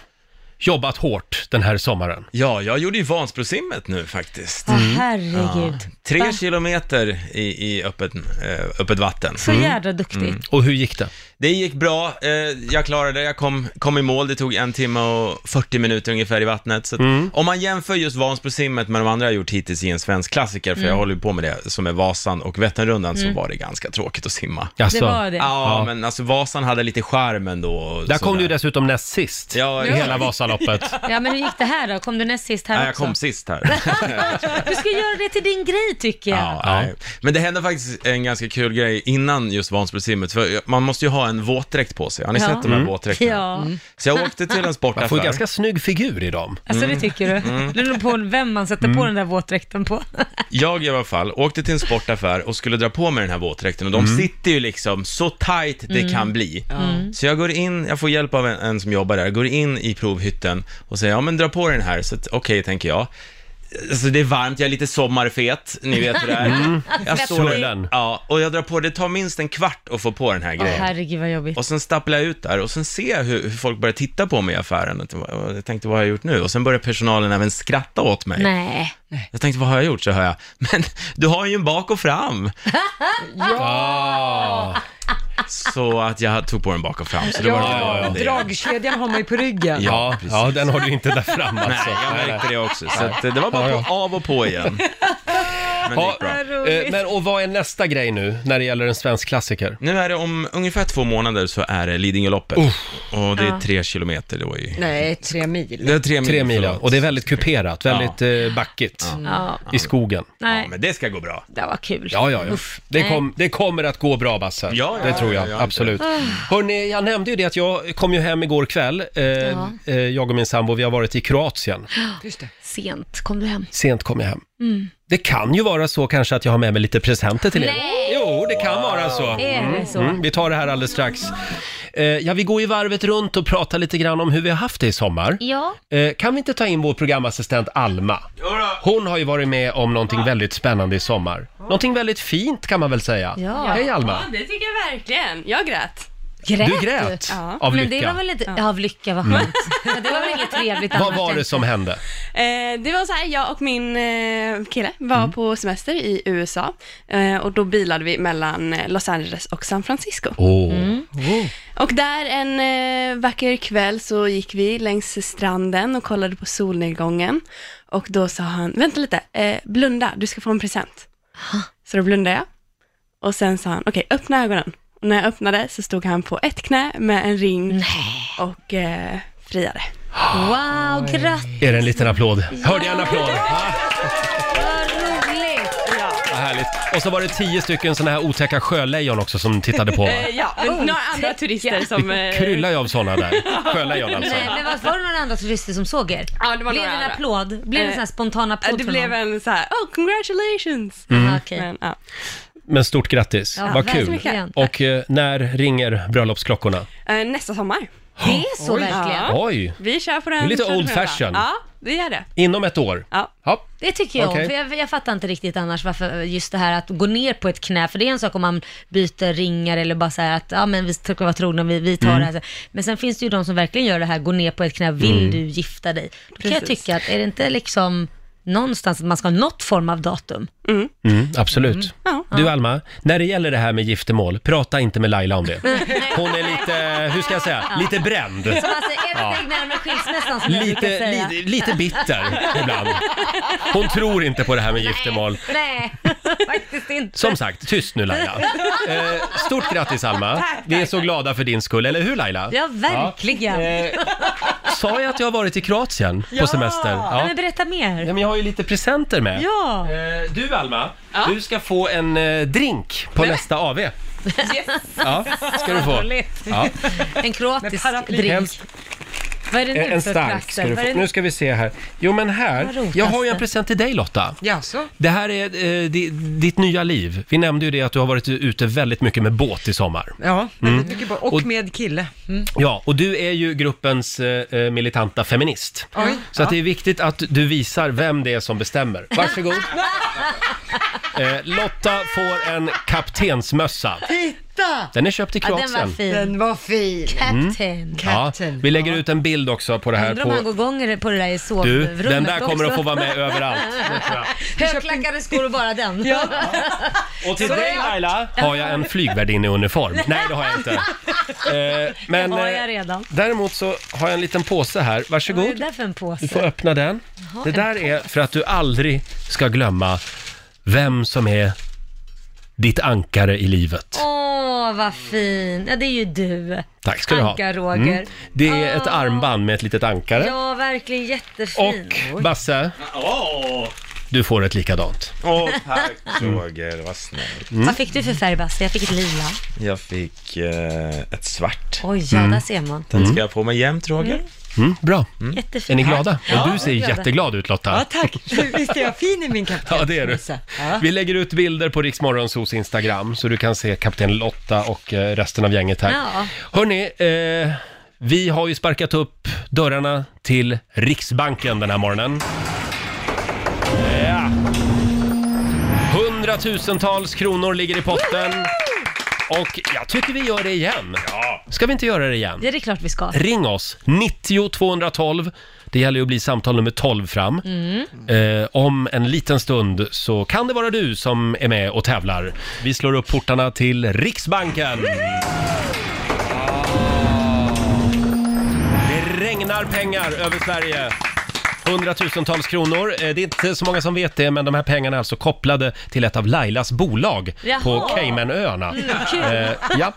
Speaker 1: jobbat hårt den här sommaren.
Speaker 4: ja, jag gjorde ju Vansbrosimmet nu faktiskt.
Speaker 2: Åh,
Speaker 1: Mm.
Speaker 2: herregud.
Speaker 4: Tre
Speaker 2: Va?
Speaker 4: kilometer i, i öppet, eh, öppet vatten.
Speaker 1: Mm.
Speaker 2: Så jädra duktig.
Speaker 1: Och hur gick det?
Speaker 4: Det gick bra, eh, jag klarade det, jag kom, kom i mål, det tog en timme och 40 minuter ungefär i vattnet. Så att
Speaker 1: Mm.
Speaker 4: Om man jämför just Vansbrosimmet med de andra jag gjort hittills i en svensk klassiker, för
Speaker 2: Mm.
Speaker 4: jag håller ju på med det, som är Vasan och Vätternrundan, så var det ganska tråkigt att simma.
Speaker 2: Det
Speaker 1: Jaså.
Speaker 2: var Mm. det.
Speaker 4: Ja,
Speaker 1: Ja.
Speaker 4: men alltså Vasan hade lite charm ändå. och
Speaker 1: Där kom
Speaker 4: sådär.
Speaker 1: du ju dessutom näst sist
Speaker 4: Ja,
Speaker 1: i hela Vasaloppet.
Speaker 2: Ja, men hur gick det här då? Kom du näst sist här
Speaker 4: Nej, jag
Speaker 2: också?
Speaker 4: kom sist här.
Speaker 2: Du ska göra det till din grej tycker jag.
Speaker 4: Ja, nej. Men det hände faktiskt en ganska kul grej innan just Vansbrosimmet, för man måste ju ha en våtdräkt på sig. Har ni
Speaker 2: Ja.
Speaker 4: sett de här våtdräkterna?
Speaker 2: Ja.
Speaker 4: Så jag åkte till en
Speaker 1: Mm. Man får ju
Speaker 4: sportaffär.
Speaker 1: ganska snygg figur i dem.
Speaker 2: Alltså det tycker du?
Speaker 1: Mm.
Speaker 2: Det beror på vem man sätter på den där våtdräkten på.
Speaker 4: Jag i alla fall åkte till en sportaffär och skulle dra på mig den här våtdräkten och de sitter ju liksom så tight det kan bli. Så jag går in, jag får hjälp av en, en som jobbar där, jag går in i provhytten och säger ja men dra på dig den här, så att, okej tänker jag. Alltså det är varmt, jag är lite sommarfet, ni vet hur det är. Jag står
Speaker 1: Svullen.
Speaker 4: där, ja, och jag drar på, det tar minst en kvart att få på den här
Speaker 2: Åh,
Speaker 4: grejen.
Speaker 2: herregud vad jobbigt.
Speaker 4: Och sen stapplar jag ut där och sen ser jag hur, hur folk börjar titta på mig i affären. Att, vad- Jag tänkte, vad har jag gjort nu? Och sen börjar personalen även skratta åt mig.
Speaker 2: Nej.
Speaker 4: Jag tänkte, vad har jag gjort? Så hör jag, men du har ju en bak och fram.
Speaker 1: Ah.
Speaker 4: Så att jag tog på den bak och fram. Så det var
Speaker 3: Ja,
Speaker 4: det.
Speaker 3: dragkedjan har man ju på ryggen.
Speaker 1: Ja, ja, den har du inte där fram alltså.
Speaker 4: Nej, jag märkte det också. Så att, eh, det var bara på, av och på igen. Men det
Speaker 1: Ja,
Speaker 4: gick bra.
Speaker 1: eh, men och vad är nästa grej nu när det gäller en svensk klassiker?
Speaker 4: Nu är det om ungefär två månader så är det Lidingöloppet. Och det är tre kilometer då ju.
Speaker 3: Nej, tre mil.
Speaker 4: Det är tre mil.
Speaker 1: Tre mil, ja.
Speaker 4: Mm, förlåt.
Speaker 1: och det är väldigt kuperat, väldigt eh, backigt
Speaker 2: Ja.
Speaker 1: i skogen.
Speaker 4: Ja,
Speaker 2: Nej,
Speaker 4: men det ska gå bra.
Speaker 2: det var kul.
Speaker 1: Ja, ja, ja.
Speaker 2: Uff,
Speaker 1: Det,
Speaker 2: nej.
Speaker 1: kom, det kommer att gå bra, Basse.
Speaker 4: Ja, ja,
Speaker 1: det tror jag,
Speaker 4: ja, ja, ja.
Speaker 1: absolut.
Speaker 2: Ah.
Speaker 1: Hörrni, jag nämnde ju det att jag kom ju hem igår kväll, eh, eh, jag och min sambo, vi har varit i Kroatien.
Speaker 3: Just det.
Speaker 2: Sent kom du hem.
Speaker 1: Sent kom jag hem.
Speaker 2: Mm.
Speaker 1: Det kan ju vara så kanske att jag har med mig lite presenter till er.
Speaker 2: Nej!
Speaker 1: Jo, det kan vara så.
Speaker 2: Är det så?
Speaker 1: Mm, vi tar det här alldeles strax. Eh, ja, vi går ju varvet runt och pratar lite grann om hur vi har haft det i sommar.
Speaker 2: Ja.
Speaker 1: Eh, kan vi inte ta in vår programassistent Alma? Hon har ju varit med om någonting väldigt spännande i sommar. Någonting väldigt fint kan man väl säga.
Speaker 2: Ja.
Speaker 1: Hej Alma!
Speaker 9: Ja, det tycker jag verkligen. Jag grät.
Speaker 2: Grät
Speaker 1: Du grät
Speaker 9: Ja.
Speaker 1: av
Speaker 2: Men
Speaker 1: lycka.
Speaker 2: det var väl inte... Ja, Mm. av lycka, vad skönt. Ja, det var väl inget trevligt
Speaker 1: Vad
Speaker 2: annars
Speaker 1: var det
Speaker 2: än-
Speaker 1: som hände?
Speaker 9: Eh, det var så här, jag och min eh, kille var på semester i USA eh, och då bilade vi mellan eh, Los Angeles och San Francisco.
Speaker 2: Mm.
Speaker 1: Åh,
Speaker 9: Och där en eh, vacker kväll så gick vi längs stranden och kollade på solnedgången och då sa han, vänta lite, eh, blunda, du ska få en present. Så då blundade jag och sen sa han, okej, öppna ögonen. Och när jag öppnade så stod han på ett knä med en ring och eh, friade.
Speaker 2: Wow, grattis,
Speaker 1: är det en liten applåd? Hörde jag en applåd? Ja,
Speaker 2: vad roligt!
Speaker 1: vad härligt. Och så var det tio stycken såna här otäcka sjölejon också som tittade på. Va?
Speaker 9: Eh, ja, men några andra turister som...
Speaker 1: Det
Speaker 9: eh,
Speaker 1: kryllar ju av såna där. Sjölejon alltså.
Speaker 2: Nej, men vad- var det några andra turister som såg er?
Speaker 9: Ja, det var
Speaker 2: blev det
Speaker 9: några
Speaker 2: en
Speaker 9: andra.
Speaker 2: applåd? Blev det en
Speaker 9: Eh,
Speaker 2: sån här spontan
Speaker 9: Eh,
Speaker 2: applåd
Speaker 9: Det
Speaker 2: från
Speaker 9: blev
Speaker 2: någon?
Speaker 9: en så här, oh congratulations!
Speaker 2: Ja, okej.
Speaker 9: Men, ja.
Speaker 1: Men stort grattis,
Speaker 2: Ja,
Speaker 1: Mm. vad kul.
Speaker 2: verkligen.
Speaker 1: Och eh, när ringer bröllopsklockorna?
Speaker 9: Eh, Nästa sommar.
Speaker 2: Det är så verkligen.
Speaker 9: Ja.
Speaker 1: Oj,
Speaker 9: Vi kör på den.
Speaker 1: Det är lite
Speaker 9: kör på den
Speaker 1: old fashion.
Speaker 9: här. Ja, vi gör det.
Speaker 1: inom ett år?
Speaker 9: Ja.
Speaker 1: Ja.
Speaker 2: Det tycker jag
Speaker 1: Okej.
Speaker 2: om, för jag, jag fattar inte riktigt annars varför just det här att gå ner på ett knä, för det är en sak om man byter ringar eller bara säger att ja men vi ska vara trogna, vi, vi tar
Speaker 1: Mm.
Speaker 2: det här. Men sen finns det ju de som verkligen gör det här, gå ner på ett knä, vill
Speaker 1: Mm.
Speaker 2: du gifta dig? Då kan jag
Speaker 9: Precis.
Speaker 2: tycka att är det inte liksom någonstans att man ska ha något form av datum?
Speaker 1: Mm, absolut.
Speaker 9: Ja.
Speaker 1: Du Alma, när det gäller det här med giftermål, prata inte med Laila om det. Hon är lite, hur ska jag säga, lite bränd.
Speaker 2: Som alltså är ett steg närmare skilsmässan som jag brukar
Speaker 1: Lite,
Speaker 2: säga.
Speaker 1: lite, lite bitter ibland. Hon tror inte på det här med giftermål.
Speaker 2: Nej, faktiskt inte.
Speaker 1: Som sagt, tyst nu Laila. Eh, stort grattis Alma. Vi är så glada för din skull, eller hur Laila?
Speaker 2: Ja, verkligen.
Speaker 1: Eh, sa jag att jag har varit i Kroatien på semester?
Speaker 2: Ja.
Speaker 1: Ja.
Speaker 2: Men berätta mer.
Speaker 1: Ja, men jag har ju lite presenter med.
Speaker 2: Ja.
Speaker 1: Eh, Du Alma, du ska få en eh, drink på nästa AV. Yes. Ja, ska du få. Ja.
Speaker 2: En kroatisk
Speaker 3: paraply.
Speaker 2: drink.
Speaker 1: Helst
Speaker 2: Vad är det nu
Speaker 1: Eh, en
Speaker 2: för
Speaker 1: stark
Speaker 2: platser?
Speaker 1: ska du
Speaker 2: Vad är det
Speaker 1: få. Nu ska vi se här. Jo men
Speaker 2: Vad
Speaker 1: här,
Speaker 2: roligt,
Speaker 1: jag har ju en
Speaker 2: Lasse.
Speaker 1: present till dig Lotta.
Speaker 3: Jaså?
Speaker 1: Det här är eh, di- ditt nya liv. Vi nämnde ju det att du har varit ute väldigt mycket med båt i sommar.
Speaker 3: Ja, väldigt mycket bra. Och
Speaker 1: Och-
Speaker 3: med kille.
Speaker 1: Ja, och du är ju gruppens eh, eh, militanta feminist.
Speaker 3: Oj.
Speaker 1: Så att det är viktigt att du visar vem det är som bestämmer. Varsågod. Eh, Lotta får en kaptensmössa.
Speaker 3: Titta! Titta!
Speaker 1: Den är köpt i
Speaker 2: Ja, den var
Speaker 1: Kroatien.
Speaker 2: fin.
Speaker 3: Den var fin.
Speaker 2: Captain.
Speaker 1: Ja,
Speaker 3: Captain.
Speaker 1: vi lägger ut en bild också på det här
Speaker 2: Undrar om han
Speaker 1: på...
Speaker 2: går gånger på det där i
Speaker 1: Du,
Speaker 2: sovrummet
Speaker 1: den där kommer att
Speaker 2: också.
Speaker 1: få vara med överallt. det tror jag.
Speaker 2: Högklackade skor och bara den. ja.
Speaker 1: Och till dig Laila har jag en flygvärdinne i uniform. Nej, det har jag inte. Eh, men
Speaker 2: Det har jag
Speaker 1: eh,
Speaker 2: redan.
Speaker 1: däremot så har jag en liten påse här.
Speaker 2: Vad är det
Speaker 1: Varsågod.
Speaker 2: där för en
Speaker 1: Du får
Speaker 2: påse?
Speaker 1: öppna den. Det
Speaker 2: en
Speaker 1: där är för att du aldrig ska glömma vem som är ditt ankare i livet.
Speaker 2: Åh, vad fin. Ja, det är ju du.
Speaker 1: Tack ska du ha. Mm.
Speaker 2: Anka, Roger.
Speaker 1: Det är ett
Speaker 2: Åh.
Speaker 1: armband med ett litet ankare.
Speaker 2: Ja, verkligen jättefin.
Speaker 1: Och Basse,
Speaker 4: Åh,
Speaker 1: du får ett likadant.
Speaker 4: Åh, tack Roger, vad snällt.
Speaker 1: Mm.
Speaker 2: Vad fick du för färg, Basse? Jag fick ett lila.
Speaker 4: Jag fick eh, ett svart.
Speaker 2: Oj, ja, där ser man.
Speaker 4: Den ska jag få mig jämt Roger.
Speaker 1: Mm, bra. Är
Speaker 2: Jättefin.
Speaker 1: ni glada? Och du ser
Speaker 2: glada.
Speaker 1: jätteglad ut
Speaker 3: Ja,
Speaker 1: Lotta.
Speaker 3: tack. Visst är jag fin i min kapten?
Speaker 1: Ja, det är du.
Speaker 3: Ja.
Speaker 1: Vi lägger ut bilder på Riksmorgonsos Instagram så du kan se kapten Lotta och eh, resten av gänget här.
Speaker 2: Ja.
Speaker 1: Hörni, eh, vi har ju sparkat upp dörrarna till Riksbanken den här morgonen. Ja. Hundratusentals kronor ligger i potten. Och jag tycker vi gör det igen. Ska vi inte göra det igen?
Speaker 2: Ja, det är klart vi ska.
Speaker 1: Ring oss, 90 212. Det gäller ju att bli samtal nummer 12 fram. Eh, om en liten stund så kan det vara du som är med och tävlar. Vi slår upp portarna till Riksbanken. Det regnar pengar över Sverige. Hundratusentals kronor. Eh, Det är inte så många som vet det, men de här pengarna är alltså kopplade till ett av Lailas bolag på
Speaker 2: Jaha. Mm.
Speaker 1: Caymanöarna.
Speaker 2: kul.
Speaker 1: Eh, ja,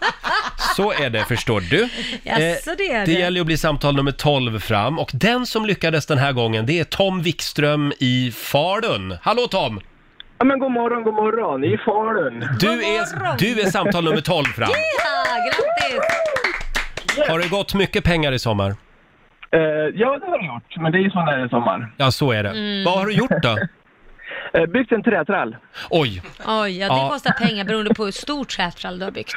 Speaker 1: så är det förstår du.
Speaker 2: Jaså, det är
Speaker 1: Eh, det
Speaker 2: det.
Speaker 1: gäller ju att bli samtal nummer 12 fram och den som lyckades den här gången det är Tom Wikström i Falun. Hallå Tom!
Speaker 10: Ja men god morgon, god morgon, i Falun.
Speaker 1: Du är, du är samtal nummer 12 fram.
Speaker 2: Ja, Ah, grattis!
Speaker 1: Har det gått mycket pengar i sommar?
Speaker 10: Eh, ja det har jag gjort, men det är ju sån där i sommar.
Speaker 1: Ja, så är det.
Speaker 2: Mm.
Speaker 1: Vad har du gjort då?
Speaker 10: Eh, byggt en trätrall.
Speaker 1: Oj,
Speaker 2: Oj, ja, det
Speaker 1: Ja.
Speaker 2: kostar pengar beroende på hur stort trätrall du har byggt.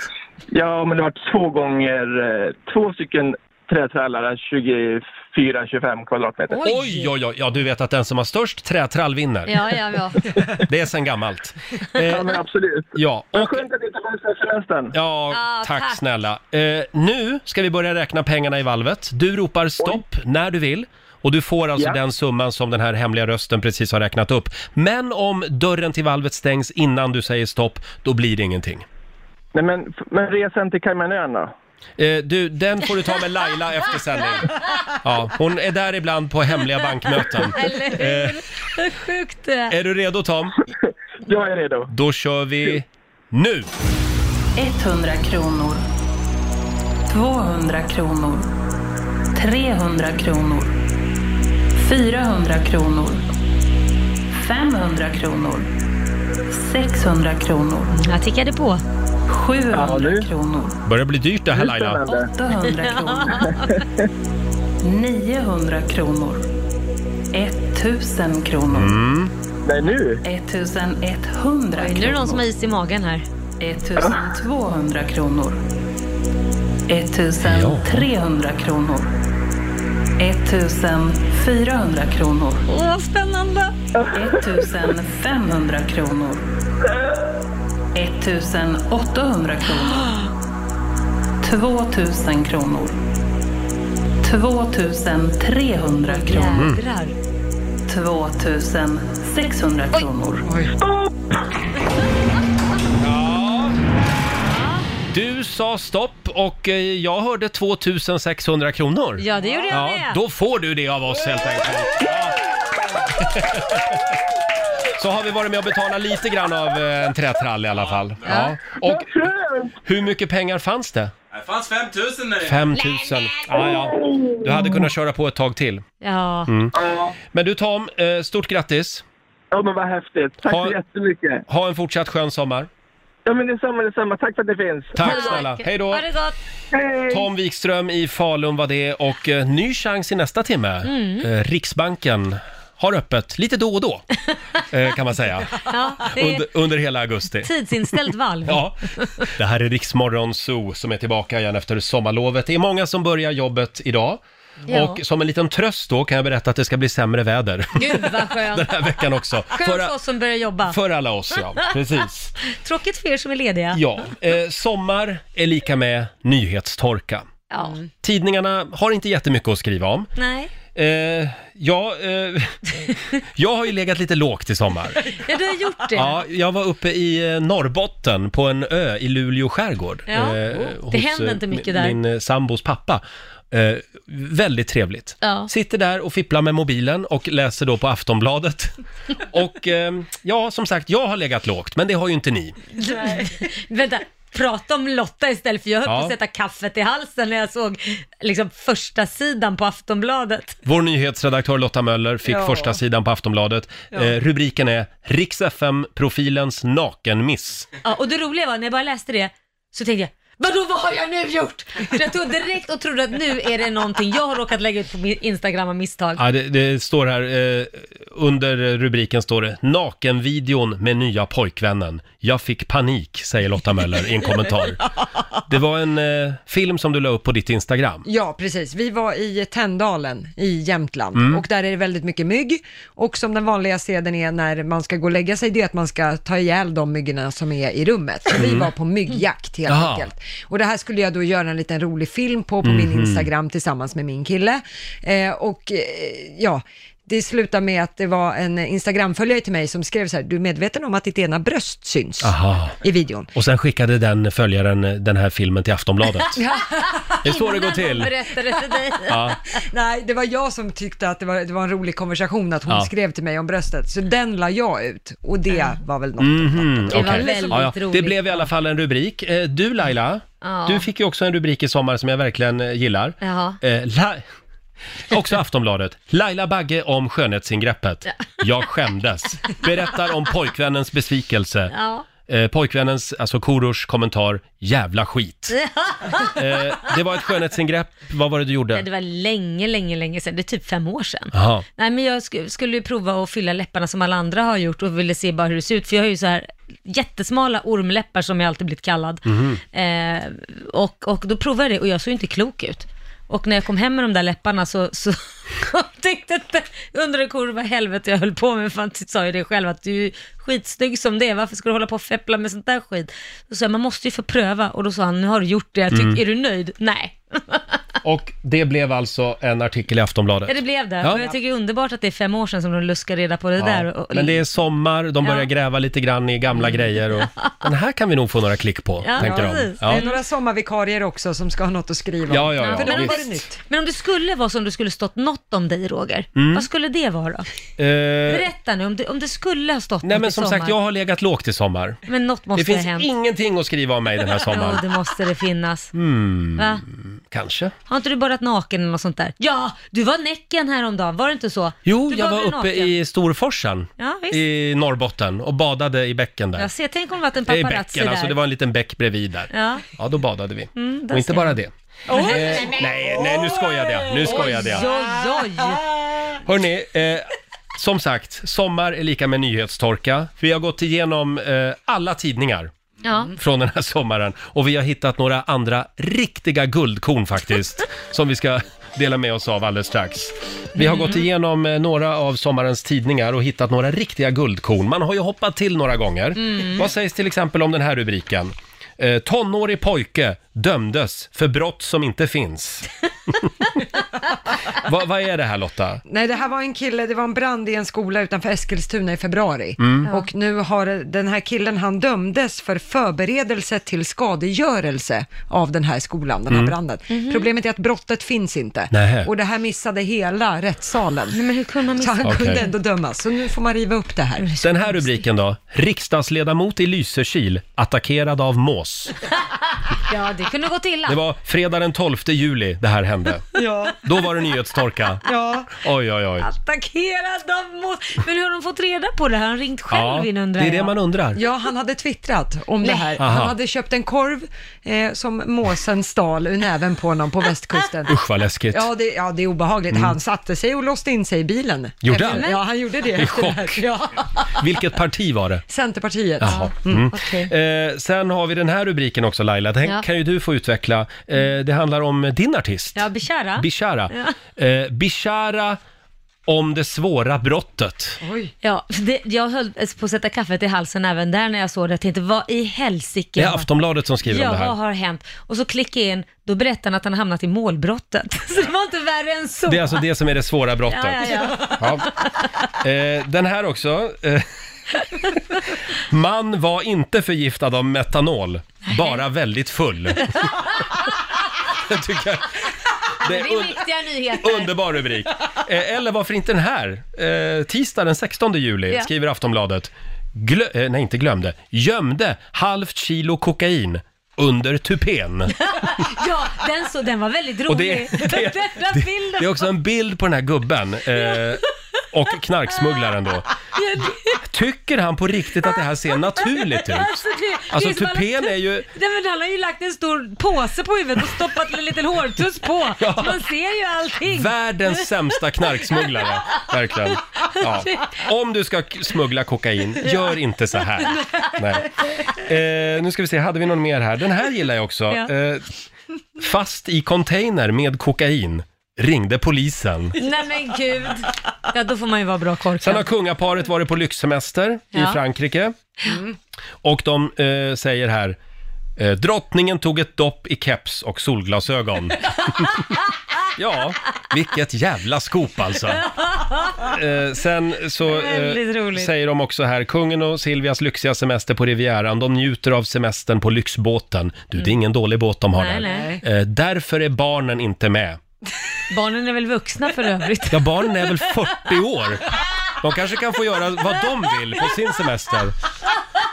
Speaker 10: Ja men det har varit två gånger, eh, två stycken trätrallar, 24-25 kvadratmeter.
Speaker 1: oj, oj, oj. Ja, du vet att den som har störst trätrall vinner.
Speaker 2: Ja, ja, ja.
Speaker 1: Det är sen gammalt.
Speaker 10: Ja
Speaker 1: Eh,
Speaker 10: men absolut.
Speaker 1: ja,
Speaker 10: Men
Speaker 1: och
Speaker 10: skönt att det inte var för semestern.
Speaker 1: Ja,
Speaker 2: Ah,
Speaker 1: tack,
Speaker 2: tack.
Speaker 1: snälla. Eh, nu ska vi börja räkna pengarna i valvet. Du ropar stopp när du vill och du får alltså
Speaker 10: Ja.
Speaker 1: den summan som den här hemliga rösten precis har räknat upp. Men om dörren till valvet stängs innan du säger stopp, då blir det ingenting.
Speaker 10: Nej men, f- men resan till Caymanöarna.
Speaker 1: Eh, du, den får du ta med Laila efter sändning. Ja, hon är där ibland på hemliga bankmöten.
Speaker 2: Eller hur? Hur sjukt det är.
Speaker 1: Är du redo Tom?
Speaker 10: Jag är redo.
Speaker 1: Då kör vi nu!
Speaker 8: 100 kronor. 200 kronor. 300 kronor. 400 kronor. 500 kronor. 600 kronor.
Speaker 2: Jag tickade på.
Speaker 8: 700 kronor.
Speaker 1: Börjar bli dyrt det här Laila.
Speaker 10: Spännande.
Speaker 8: 800 kronor. 900 kronor. 1000 kronor.
Speaker 10: Mm. Nej nu!
Speaker 8: 1100
Speaker 2: Oj, nu är det någon som har is i magen här.
Speaker 8: 1200 kronor. 1300 kronor. 1400 kronor.
Speaker 2: Åh, vad spännande!
Speaker 8: 1500 kronor. 1800 kronor. 2000 kronor. 2300 kronor.
Speaker 1: Mm.
Speaker 2: Jädrar.
Speaker 8: 2600 kronor.
Speaker 1: Du sa stopp och eh, jag hörde 2600 kronor.
Speaker 2: Ja, det gjorde jag
Speaker 1: Ja,
Speaker 2: med.
Speaker 1: då får du det av oss helt enkelt. Ja. Så har vi varit med och betalat lite grann av eh, en trätrall i alla fall. Ja. Och hur mycket pengar fanns det?
Speaker 4: Det fanns 5000 där inne.
Speaker 1: 5 000. Ja, ja. Du hade kunnat köra på ett tag till.
Speaker 2: Ja.
Speaker 1: Mm. Men du Tom, eh, stort grattis.
Speaker 10: Ja men vad häftigt. Tack
Speaker 1: Ha-
Speaker 10: så jättemycket.
Speaker 1: Ha en fortsatt skön sommar.
Speaker 10: Ja men detsamma, detsamma. Tack för att ni finns.
Speaker 1: Tack snälla. Hej då.
Speaker 2: Ha det gott.
Speaker 10: Hej!
Speaker 1: Tom Wikström i Falun var det och eh, ny chans i nästa timme.
Speaker 2: Mm.
Speaker 1: Eh, Riksbanken har öppet lite då och då, eh, kan man säga,
Speaker 2: Ja, det är
Speaker 1: under, under hela augusti.
Speaker 2: tidsinställt valv.
Speaker 1: Ja. Det här är Riksmorgon Zoo som är tillbaka igen efter sommarlovet. Det är många som börjar jobbet idag.
Speaker 2: Ja.
Speaker 1: Och som en liten tröst då kan jag berätta att det ska bli sämre väder
Speaker 2: Gud vad skönt.
Speaker 1: den här veckan också.
Speaker 2: Skönt för oss som börjar jobba.
Speaker 1: för alla oss, ja. Precis.
Speaker 2: Tråkigt för er som är lediga.
Speaker 1: Ja, eh, sommar är lika med nyhetstorka.
Speaker 2: Ja.
Speaker 1: Tidningarna har inte jättemycket att skriva om.
Speaker 2: Nej.
Speaker 1: Eh, ja, eh, jag har ju legat lite lågt i sommar.
Speaker 2: Ja, du har gjort det.
Speaker 1: Ja, jag var uppe i eh, Norrbotten på en ö i Luleå skärgård. eh,
Speaker 2: Ja. Oh,
Speaker 1: hos,
Speaker 2: Det händer inte
Speaker 1: eh,
Speaker 2: mycket
Speaker 1: min-
Speaker 2: där.
Speaker 1: Min eh, sambos pappa. Eh, väldigt trevligt.
Speaker 2: Ja.
Speaker 1: Sitter där och fipplar med mobilen och läser då på Aftonbladet. och eh, ja, som sagt, jag har legat lågt, men det har ju inte ni.
Speaker 2: Vänta, prata om Lotta istället för jag höll
Speaker 1: Ja.
Speaker 2: på att sätta kaffet i halsen när jag såg liksom första sidan på Aftonbladet.
Speaker 1: Vår nyhetsredaktör Lotta Möller fick
Speaker 2: Ja.
Speaker 1: första sidan på Aftonbladet. Eh, rubriken är Riks FM-profilens nakenmiss.
Speaker 2: Ja, och det roliga var när jag bara läste det så tänkte jag Vadå, vad har jag nu gjort? För jag tog direkt och trodde att nu är det någonting jag har råkat lägga ut på min Instagram av misstag.
Speaker 1: Ja, det, det står här, eh, under rubriken står det “Nakenvideon med nya pojkvännen. Jag fick panik”, säger Lotta Möller i en kommentar. Det var en eh, film som du la upp på ditt Instagram.
Speaker 3: Ja, precis. Vi var i Tändalen i Jämtland
Speaker 1: Mm.
Speaker 3: och där är det väldigt mycket mygg. Och som den vanliga seden är när man ska gå och lägga sig, det är att man ska ta ihjäl de myggorna som är i rummet. Så vi
Speaker 11: Mm.
Speaker 3: var på myggjakt helt
Speaker 11: Jaha.
Speaker 3: enkelt. Och det här skulle jag då göra en liten rolig film på, på min
Speaker 11: Mhm.
Speaker 3: Instagram tillsammans med min kille. Eh, och eh, ja, det slutade med att det var en Instagramföljare till mig som skrev så här, du är medveten om att ditt ena bröst syns?
Speaker 1: Aha.
Speaker 3: I videon.
Speaker 1: Och sen skickade den följaren eh, den här filmen till Aftonbladet. Det är så det går till.
Speaker 2: Berättade för dig.
Speaker 1: Ja.
Speaker 3: Nej, det var jag som tyckte att det var, det var en rolig konversation att hon
Speaker 1: Ja.
Speaker 3: skrev till mig om bröstet, så den la jag ut och det
Speaker 1: Mm.
Speaker 3: var väl något.
Speaker 1: Mhm,
Speaker 3: Det var
Speaker 1: okej.
Speaker 3: väldigt
Speaker 1: Det
Speaker 3: roligt.
Speaker 1: blev i alla fall en rubrik. Eh, Du Laila,
Speaker 2: Ja.
Speaker 1: du fick ju också en rubrik i sommar som jag verkligen eh, gillar.
Speaker 2: Jaha.
Speaker 1: Eh, La... Också Aftonbladet. Laila Bagge om skönhetsingreppet.
Speaker 2: Ja.
Speaker 1: Jag skämdes. Berättar om pojkvännens besvikelse.
Speaker 2: Ja.
Speaker 1: Eh, pojkvännens, alltså Korosh kommentar, jävla skit. Eh, det var ett skönhetsingrepp, vad var det du
Speaker 2: Ja,
Speaker 1: gjorde?
Speaker 2: Det var länge, länge, länge sedan. Det är typ fem år sedan.
Speaker 1: Jaha.
Speaker 2: Nej, men jag sk- skulle ju prova att fylla läpparna som alla andra har gjort och ville se bara hur det ser ut. För jag har ju så här jättesmala ormläppar som jag alltid blivit kallad.
Speaker 6: Mhm.
Speaker 2: Eh, och, och då provade jag det och jag såg inte klok ut. Och när jag kom hem med de där läpparna så, så tänkte jag inte, undrade kor vad helvete jag höll på med, för han sa ju det själv att du är skitsnygg som det är, varför ska du hålla på och feppla med sånt där skit? Då sa jag, man måste ju få pröva och då sa han, nu har du gjort det, jag tyck,
Speaker 1: Mm.
Speaker 2: är du nöjd? Nej.
Speaker 1: Och det blev alltså en artikel i Aftonbladet.
Speaker 2: Ja, det blev det.
Speaker 1: Ja.
Speaker 2: Men jag tycker det är underbart att det är fem år sedan som de luskar reda på det
Speaker 1: Ja,
Speaker 2: där. Och,
Speaker 1: Men det är sommar, de börjar
Speaker 2: Ja.
Speaker 1: gräva lite grann i gamla grejer och den här kan vi nog få några klick på, tänker de. Eh,
Speaker 3: precis. Det är några sommarvikarier också som ska ha något att skriva om.
Speaker 1: Ja, ja, ja.
Speaker 3: För de
Speaker 1: Visst.
Speaker 3: var det nytt.
Speaker 2: Men om det skulle vara som du skulle stått något om dig, Roger,
Speaker 1: Mm.
Speaker 2: vad skulle det vara då?
Speaker 1: Eh,
Speaker 2: Berätta nu, om det, om det skulle ha stått
Speaker 1: nej
Speaker 2: något
Speaker 1: men
Speaker 2: i
Speaker 1: som
Speaker 2: sommar.
Speaker 1: sagt, jag har legat lågt i sommar.
Speaker 2: Men något måste
Speaker 1: det finns
Speaker 2: ha hänt.
Speaker 1: ingenting att skriva om mig den här sommaren.
Speaker 2: Jo, det måste det finnas.
Speaker 1: Hmm,
Speaker 2: Va?
Speaker 1: kanske.
Speaker 2: Har inte du borrat naken eller något sånt där? Ja, du var näcken häromdagen, var det inte så?
Speaker 1: Jo,
Speaker 2: du
Speaker 1: jag var
Speaker 2: badade
Speaker 1: uppe
Speaker 2: naken.
Speaker 1: i Storforsen
Speaker 2: Ja, visst.
Speaker 1: i Norrbotten och badade i bäcken där.
Speaker 2: Jag ser, tänk om det varit en
Speaker 1: I
Speaker 2: paparazzi
Speaker 1: bäcken,
Speaker 2: där.
Speaker 1: alltså det var en liten bäck bredvid där.
Speaker 2: Ja.
Speaker 1: Ja, då badade vi.
Speaker 2: Mm, där
Speaker 1: och inte
Speaker 2: ser
Speaker 1: bara
Speaker 2: man.
Speaker 1: det. Eh, nej, nej, nu skojade jag. Nu skojade jag.
Speaker 2: Oj, oj, oj.
Speaker 1: Hörni, eh, som sagt, sommar är lika med nyhetstorka. Vi har gått igenom eh, alla tidningar
Speaker 2: Ja.
Speaker 1: från den här sommaren och vi har hittat några andra riktiga guldkorn faktiskt som vi ska dela med oss av alldeles strax. Vi har gått igenom eh, några av sommarens tidningar och hittat några riktiga guldkorn. Man har ju hoppat till några gånger.
Speaker 12: Mm.
Speaker 1: Vad sägs till exempel om den här rubriken? Eh, tonårig pojke dömdes för brott som inte finns. Vad vad är det här Lotta?
Speaker 3: Nej, det här var en kille, det var en brand i en skola utanför Eskilstuna i februari.
Speaker 1: Mm. Ja.
Speaker 3: Och nu har den här killen, han dömdes för förberedelse till skadegörelse av den här skolan, den här
Speaker 11: Mm.
Speaker 3: branden. Problemet är att brottet finns inte.
Speaker 11: Nähä.
Speaker 3: Och det här missade hela rättssalen.
Speaker 2: men hur kunde man
Speaker 3: Så han
Speaker 1: missa det?
Speaker 3: kunde
Speaker 1: Okej.
Speaker 3: ändå dömas, så nu får man riva upp det här.
Speaker 1: Den här rubriken då? Riksdagsledamot i Lysekil attackerad av mås.
Speaker 2: Ja, det kunde gått illa.
Speaker 1: Det var fredag den 12 juli det här hände.
Speaker 3: Ja.
Speaker 1: Då var det nyhetstorka.
Speaker 3: Ja.
Speaker 1: Oj, oj, oj.
Speaker 2: Alltså, Attackerad av mås. Men hur har de fått reda på det? Har han ringt själv
Speaker 1: Ja,
Speaker 2: in undrar
Speaker 1: det är det
Speaker 2: jag?
Speaker 1: man undrar.
Speaker 3: Ja, han hade twittrat om det
Speaker 2: Nej.
Speaker 3: här.
Speaker 1: Aha.
Speaker 3: Han hade köpt en korv eh, som måsen stal ur näven på honom på västkusten.
Speaker 1: Usch vad läskigt.
Speaker 3: Ja det, ja, det är obehagligt.
Speaker 1: Mm.
Speaker 3: Han satte sig och låste in sig i bilen.
Speaker 1: Gjorde
Speaker 3: Efter-
Speaker 1: han?
Speaker 3: Ja, han gjorde det.
Speaker 1: I
Speaker 3: efter det här. Ja.
Speaker 1: Vilket parti var det?
Speaker 3: Centerpartiet.
Speaker 1: Jaha. Mm. Eh, sen har vi den här här rubriken också Laila, den
Speaker 2: Ja. Mm.
Speaker 1: kan ju du få utveckla. Eh, det handlar om din artist.
Speaker 2: Ja, Bishara.
Speaker 1: Bishara. Eh, Bishara om det svåra brottet.
Speaker 2: Ja, det, jag höll eh, på att sätta kaffet i halsen även där när jag såg det. Jag tänkte, vad i helsike?
Speaker 1: Det är Aftonbladet som skriver
Speaker 2: ja,
Speaker 1: om det
Speaker 2: vad
Speaker 1: här.
Speaker 2: har hänt? Och så klickade jag in, då berättar han att han har hamnat i målbrottet. Så det var inte värre än så.
Speaker 1: Det är alltså det som är det svåra brottet.
Speaker 2: Ja, ja, ja.
Speaker 1: Ja. Eh, den här också. Eh, Man var inte förgiftad av metanol, bara väldigt full. Jag tycker
Speaker 2: Det
Speaker 1: det är
Speaker 2: är
Speaker 1: un-
Speaker 2: viktiga nyheter.
Speaker 1: Underbar rubrik. Eh, eller varför inte den här? Eh, tisdag den 16 juli
Speaker 2: Ja.
Speaker 1: skriver Aftonbladet. Glö- eh, nej, inte glömde. Gömde halvt kilo kokain under tupén.
Speaker 2: Ja, den, så, den var väldigt
Speaker 1: Och
Speaker 2: rolig.
Speaker 1: det- det-
Speaker 2: den där bilden.
Speaker 1: Det är också en bild på den här gubben eh, och knarksmugglaren då.
Speaker 2: Ja, det- liksom-
Speaker 1: Tycker han på riktigt att det här ser naturligt ut?
Speaker 2: Alltså, det,
Speaker 1: Alltså,
Speaker 2: det som
Speaker 1: tupén
Speaker 2: alla-
Speaker 1: är ju-
Speaker 2: Nej, men han har ju lagt en stor påse på huvudet och stoppat en liten hårtuss på.
Speaker 1: Ja.
Speaker 2: Man ser ju allting.
Speaker 1: Världens sämsta knarksmugglare, verkligen. Ja. Om du ska k- smuggla kokain, gör inte så här. Nej. Eh, nu ska vi se, hade vi någon mer här? Den här gillar jag också.
Speaker 2: Ja.
Speaker 1: Eh, fast i container med kokain, ringde polisen.
Speaker 2: Nej men gud. Ja, då får man ju vara bra
Speaker 1: Sen har
Speaker 2: korkad.
Speaker 1: kungaparet varit på lyxsemester
Speaker 2: Ja. Mm.
Speaker 1: i Frankrike. Och de eh, säger här, eh, drottningen tog ett dopp i keps och solglasögon. ja, vilket jävla skop alltså. Eh, sen så
Speaker 2: Väldigt
Speaker 1: eh,
Speaker 2: roligt.
Speaker 1: säger de också här, kungen och Silvias lyxiga semester på Rivieran, de njuter av semestern på lyxbåten. Du, det är ingen dålig båt de har
Speaker 2: Mm. Nej,
Speaker 1: där. Eh, därför är barnen inte med.
Speaker 2: Barnen är väl vuxna för övrigt.
Speaker 1: Ja, barnen är väl 40 år? De kanske kan få göra vad de vill på sin semester.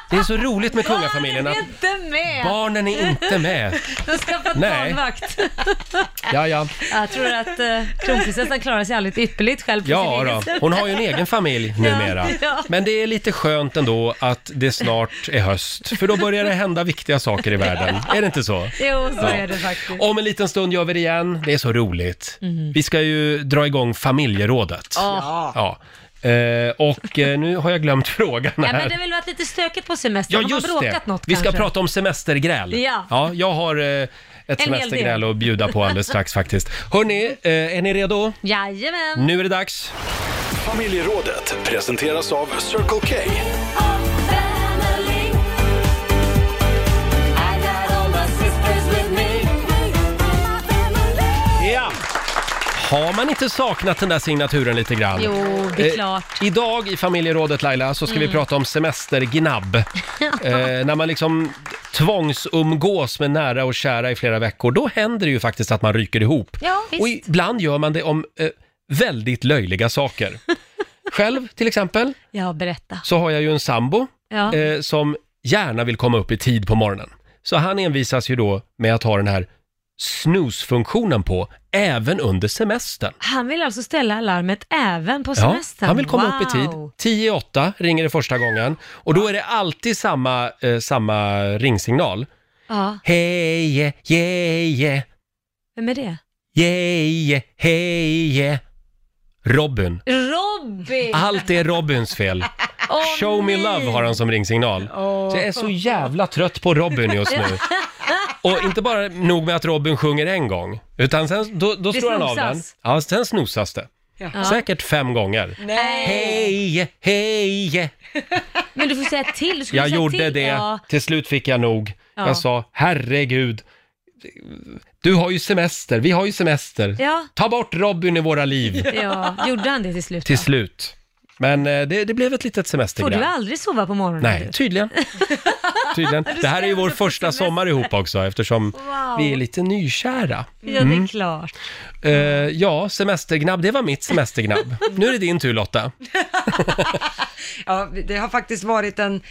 Speaker 1: Det är så roligt med kungafamiljen att
Speaker 2: Barnen är inte med!
Speaker 1: barnen är inte med.
Speaker 2: De ska få
Speaker 1: Nej.
Speaker 2: barnvakt.
Speaker 1: Ja, ja.
Speaker 2: Jag tror att eh, kronprinsessan klarar sig alldeles ypperligt själv på sin
Speaker 1: Ja
Speaker 2: egen
Speaker 1: då,
Speaker 2: sätt.
Speaker 1: hon har ju en egen familj numera.
Speaker 2: ja.
Speaker 1: Men det är lite skönt ändå att det snart är höst, för då börjar det hända viktiga saker i världen. Är det inte så?
Speaker 2: Jo, så
Speaker 1: Ja.
Speaker 2: är det faktiskt.
Speaker 1: Om en liten stund gör vi det igen. Det är så roligt. Vi ska ju dra igång familjerådet.
Speaker 2: Mhm. Ja.
Speaker 1: Ja. Eh, och eh, nu har jag glömt frågan här.
Speaker 2: Ja, men det har väl varit lite stökigt på
Speaker 1: Ja,
Speaker 2: semestern? de har
Speaker 1: just det.
Speaker 2: bråkat något
Speaker 1: Vi ska
Speaker 2: kanske.
Speaker 1: prata om semestergräl.
Speaker 2: Ja.
Speaker 1: jag har eh, ett
Speaker 2: En hel
Speaker 1: semestergräl
Speaker 2: del.
Speaker 1: att bjuda på alldeles strax faktiskt. Hörni, eh, är ni redo?
Speaker 2: Jajamän!
Speaker 1: Nu är det dags.
Speaker 11: Familjerådet presenteras av Circle K.
Speaker 1: Ja! Har man inte saknat den där signaturen lite grann?
Speaker 2: Jo, det är
Speaker 1: Eh,
Speaker 2: klart.
Speaker 1: idag i familjerådet Laila så ska vi
Speaker 2: Mm.
Speaker 1: prata om semestergnabb. eh, när man liksom tvångsumgås med nära och kära i flera veckor, då händer det ju faktiskt att man ryker ihop.
Speaker 2: Ja,
Speaker 1: Och
Speaker 2: visst.
Speaker 1: ibland gör man det om eh, väldigt löjliga saker. Själv till exempel
Speaker 2: Ja, berätta.
Speaker 1: så har jag ju en sambo
Speaker 2: Ja.
Speaker 1: eh, som gärna vill komma upp i tid på morgonen. Så han envisas ju då med att ha den här snooze-funktionen på även under semestern.
Speaker 2: Han vill alltså ställa alarmet även på
Speaker 1: Ja,
Speaker 2: semestern?
Speaker 1: han vill komma
Speaker 2: wow.
Speaker 1: upp i tid. 10 i 8 ringer det första gången och då är det alltid samma, eh, samma ringsignal.
Speaker 2: Ja,
Speaker 1: Hej, yeah, yeah, yeah,
Speaker 2: vem är det?
Speaker 1: yeah, yeah, hej, yeah. Robin.
Speaker 2: Robin!
Speaker 1: Allt är Robins fel.
Speaker 2: Åh,
Speaker 1: Show me
Speaker 2: nej.
Speaker 1: love har han som ringsignal.
Speaker 2: Åh.
Speaker 1: Så jag är så jävla trött på Robin just nu. Och inte bara nog med att Robin sjunger en gång, utan sen då, då
Speaker 2: Det
Speaker 1: slår han av den.
Speaker 2: snosas.
Speaker 1: Ja, sen snosas det.
Speaker 2: Ja.
Speaker 1: Säkert fem gånger. Hej, hej!
Speaker 2: Men du får säga till. Du skulle
Speaker 1: Jag
Speaker 2: säga
Speaker 1: gjorde
Speaker 2: till.
Speaker 1: det.
Speaker 2: Ja.
Speaker 1: Till slut fick jag nog.
Speaker 2: Ja.
Speaker 1: Jag sa, herregud. Du har ju semester, vi har ju semester.
Speaker 2: Ja.
Speaker 1: Ta bort Robin i våra liv.
Speaker 2: ja, gjorde han det till slut?
Speaker 1: Till
Speaker 2: då?
Speaker 1: slut. Men eh, det, det blev ett litet
Speaker 2: Får
Speaker 1: semestergräl.
Speaker 2: du aldrig sova på morgonen?
Speaker 1: Nej,
Speaker 2: du?
Speaker 1: tydligen. tydligen. Det här är ju vår första sommar ihop också eftersom
Speaker 2: Wow.
Speaker 1: vi är lite nykära.
Speaker 2: Ja, det
Speaker 1: Mm.
Speaker 2: är klart.
Speaker 1: Eh, ja, semestergnabb, det var mitt semestergnabb. Nu är det din tur Lotta.
Speaker 3: Ja, det har faktiskt varit en...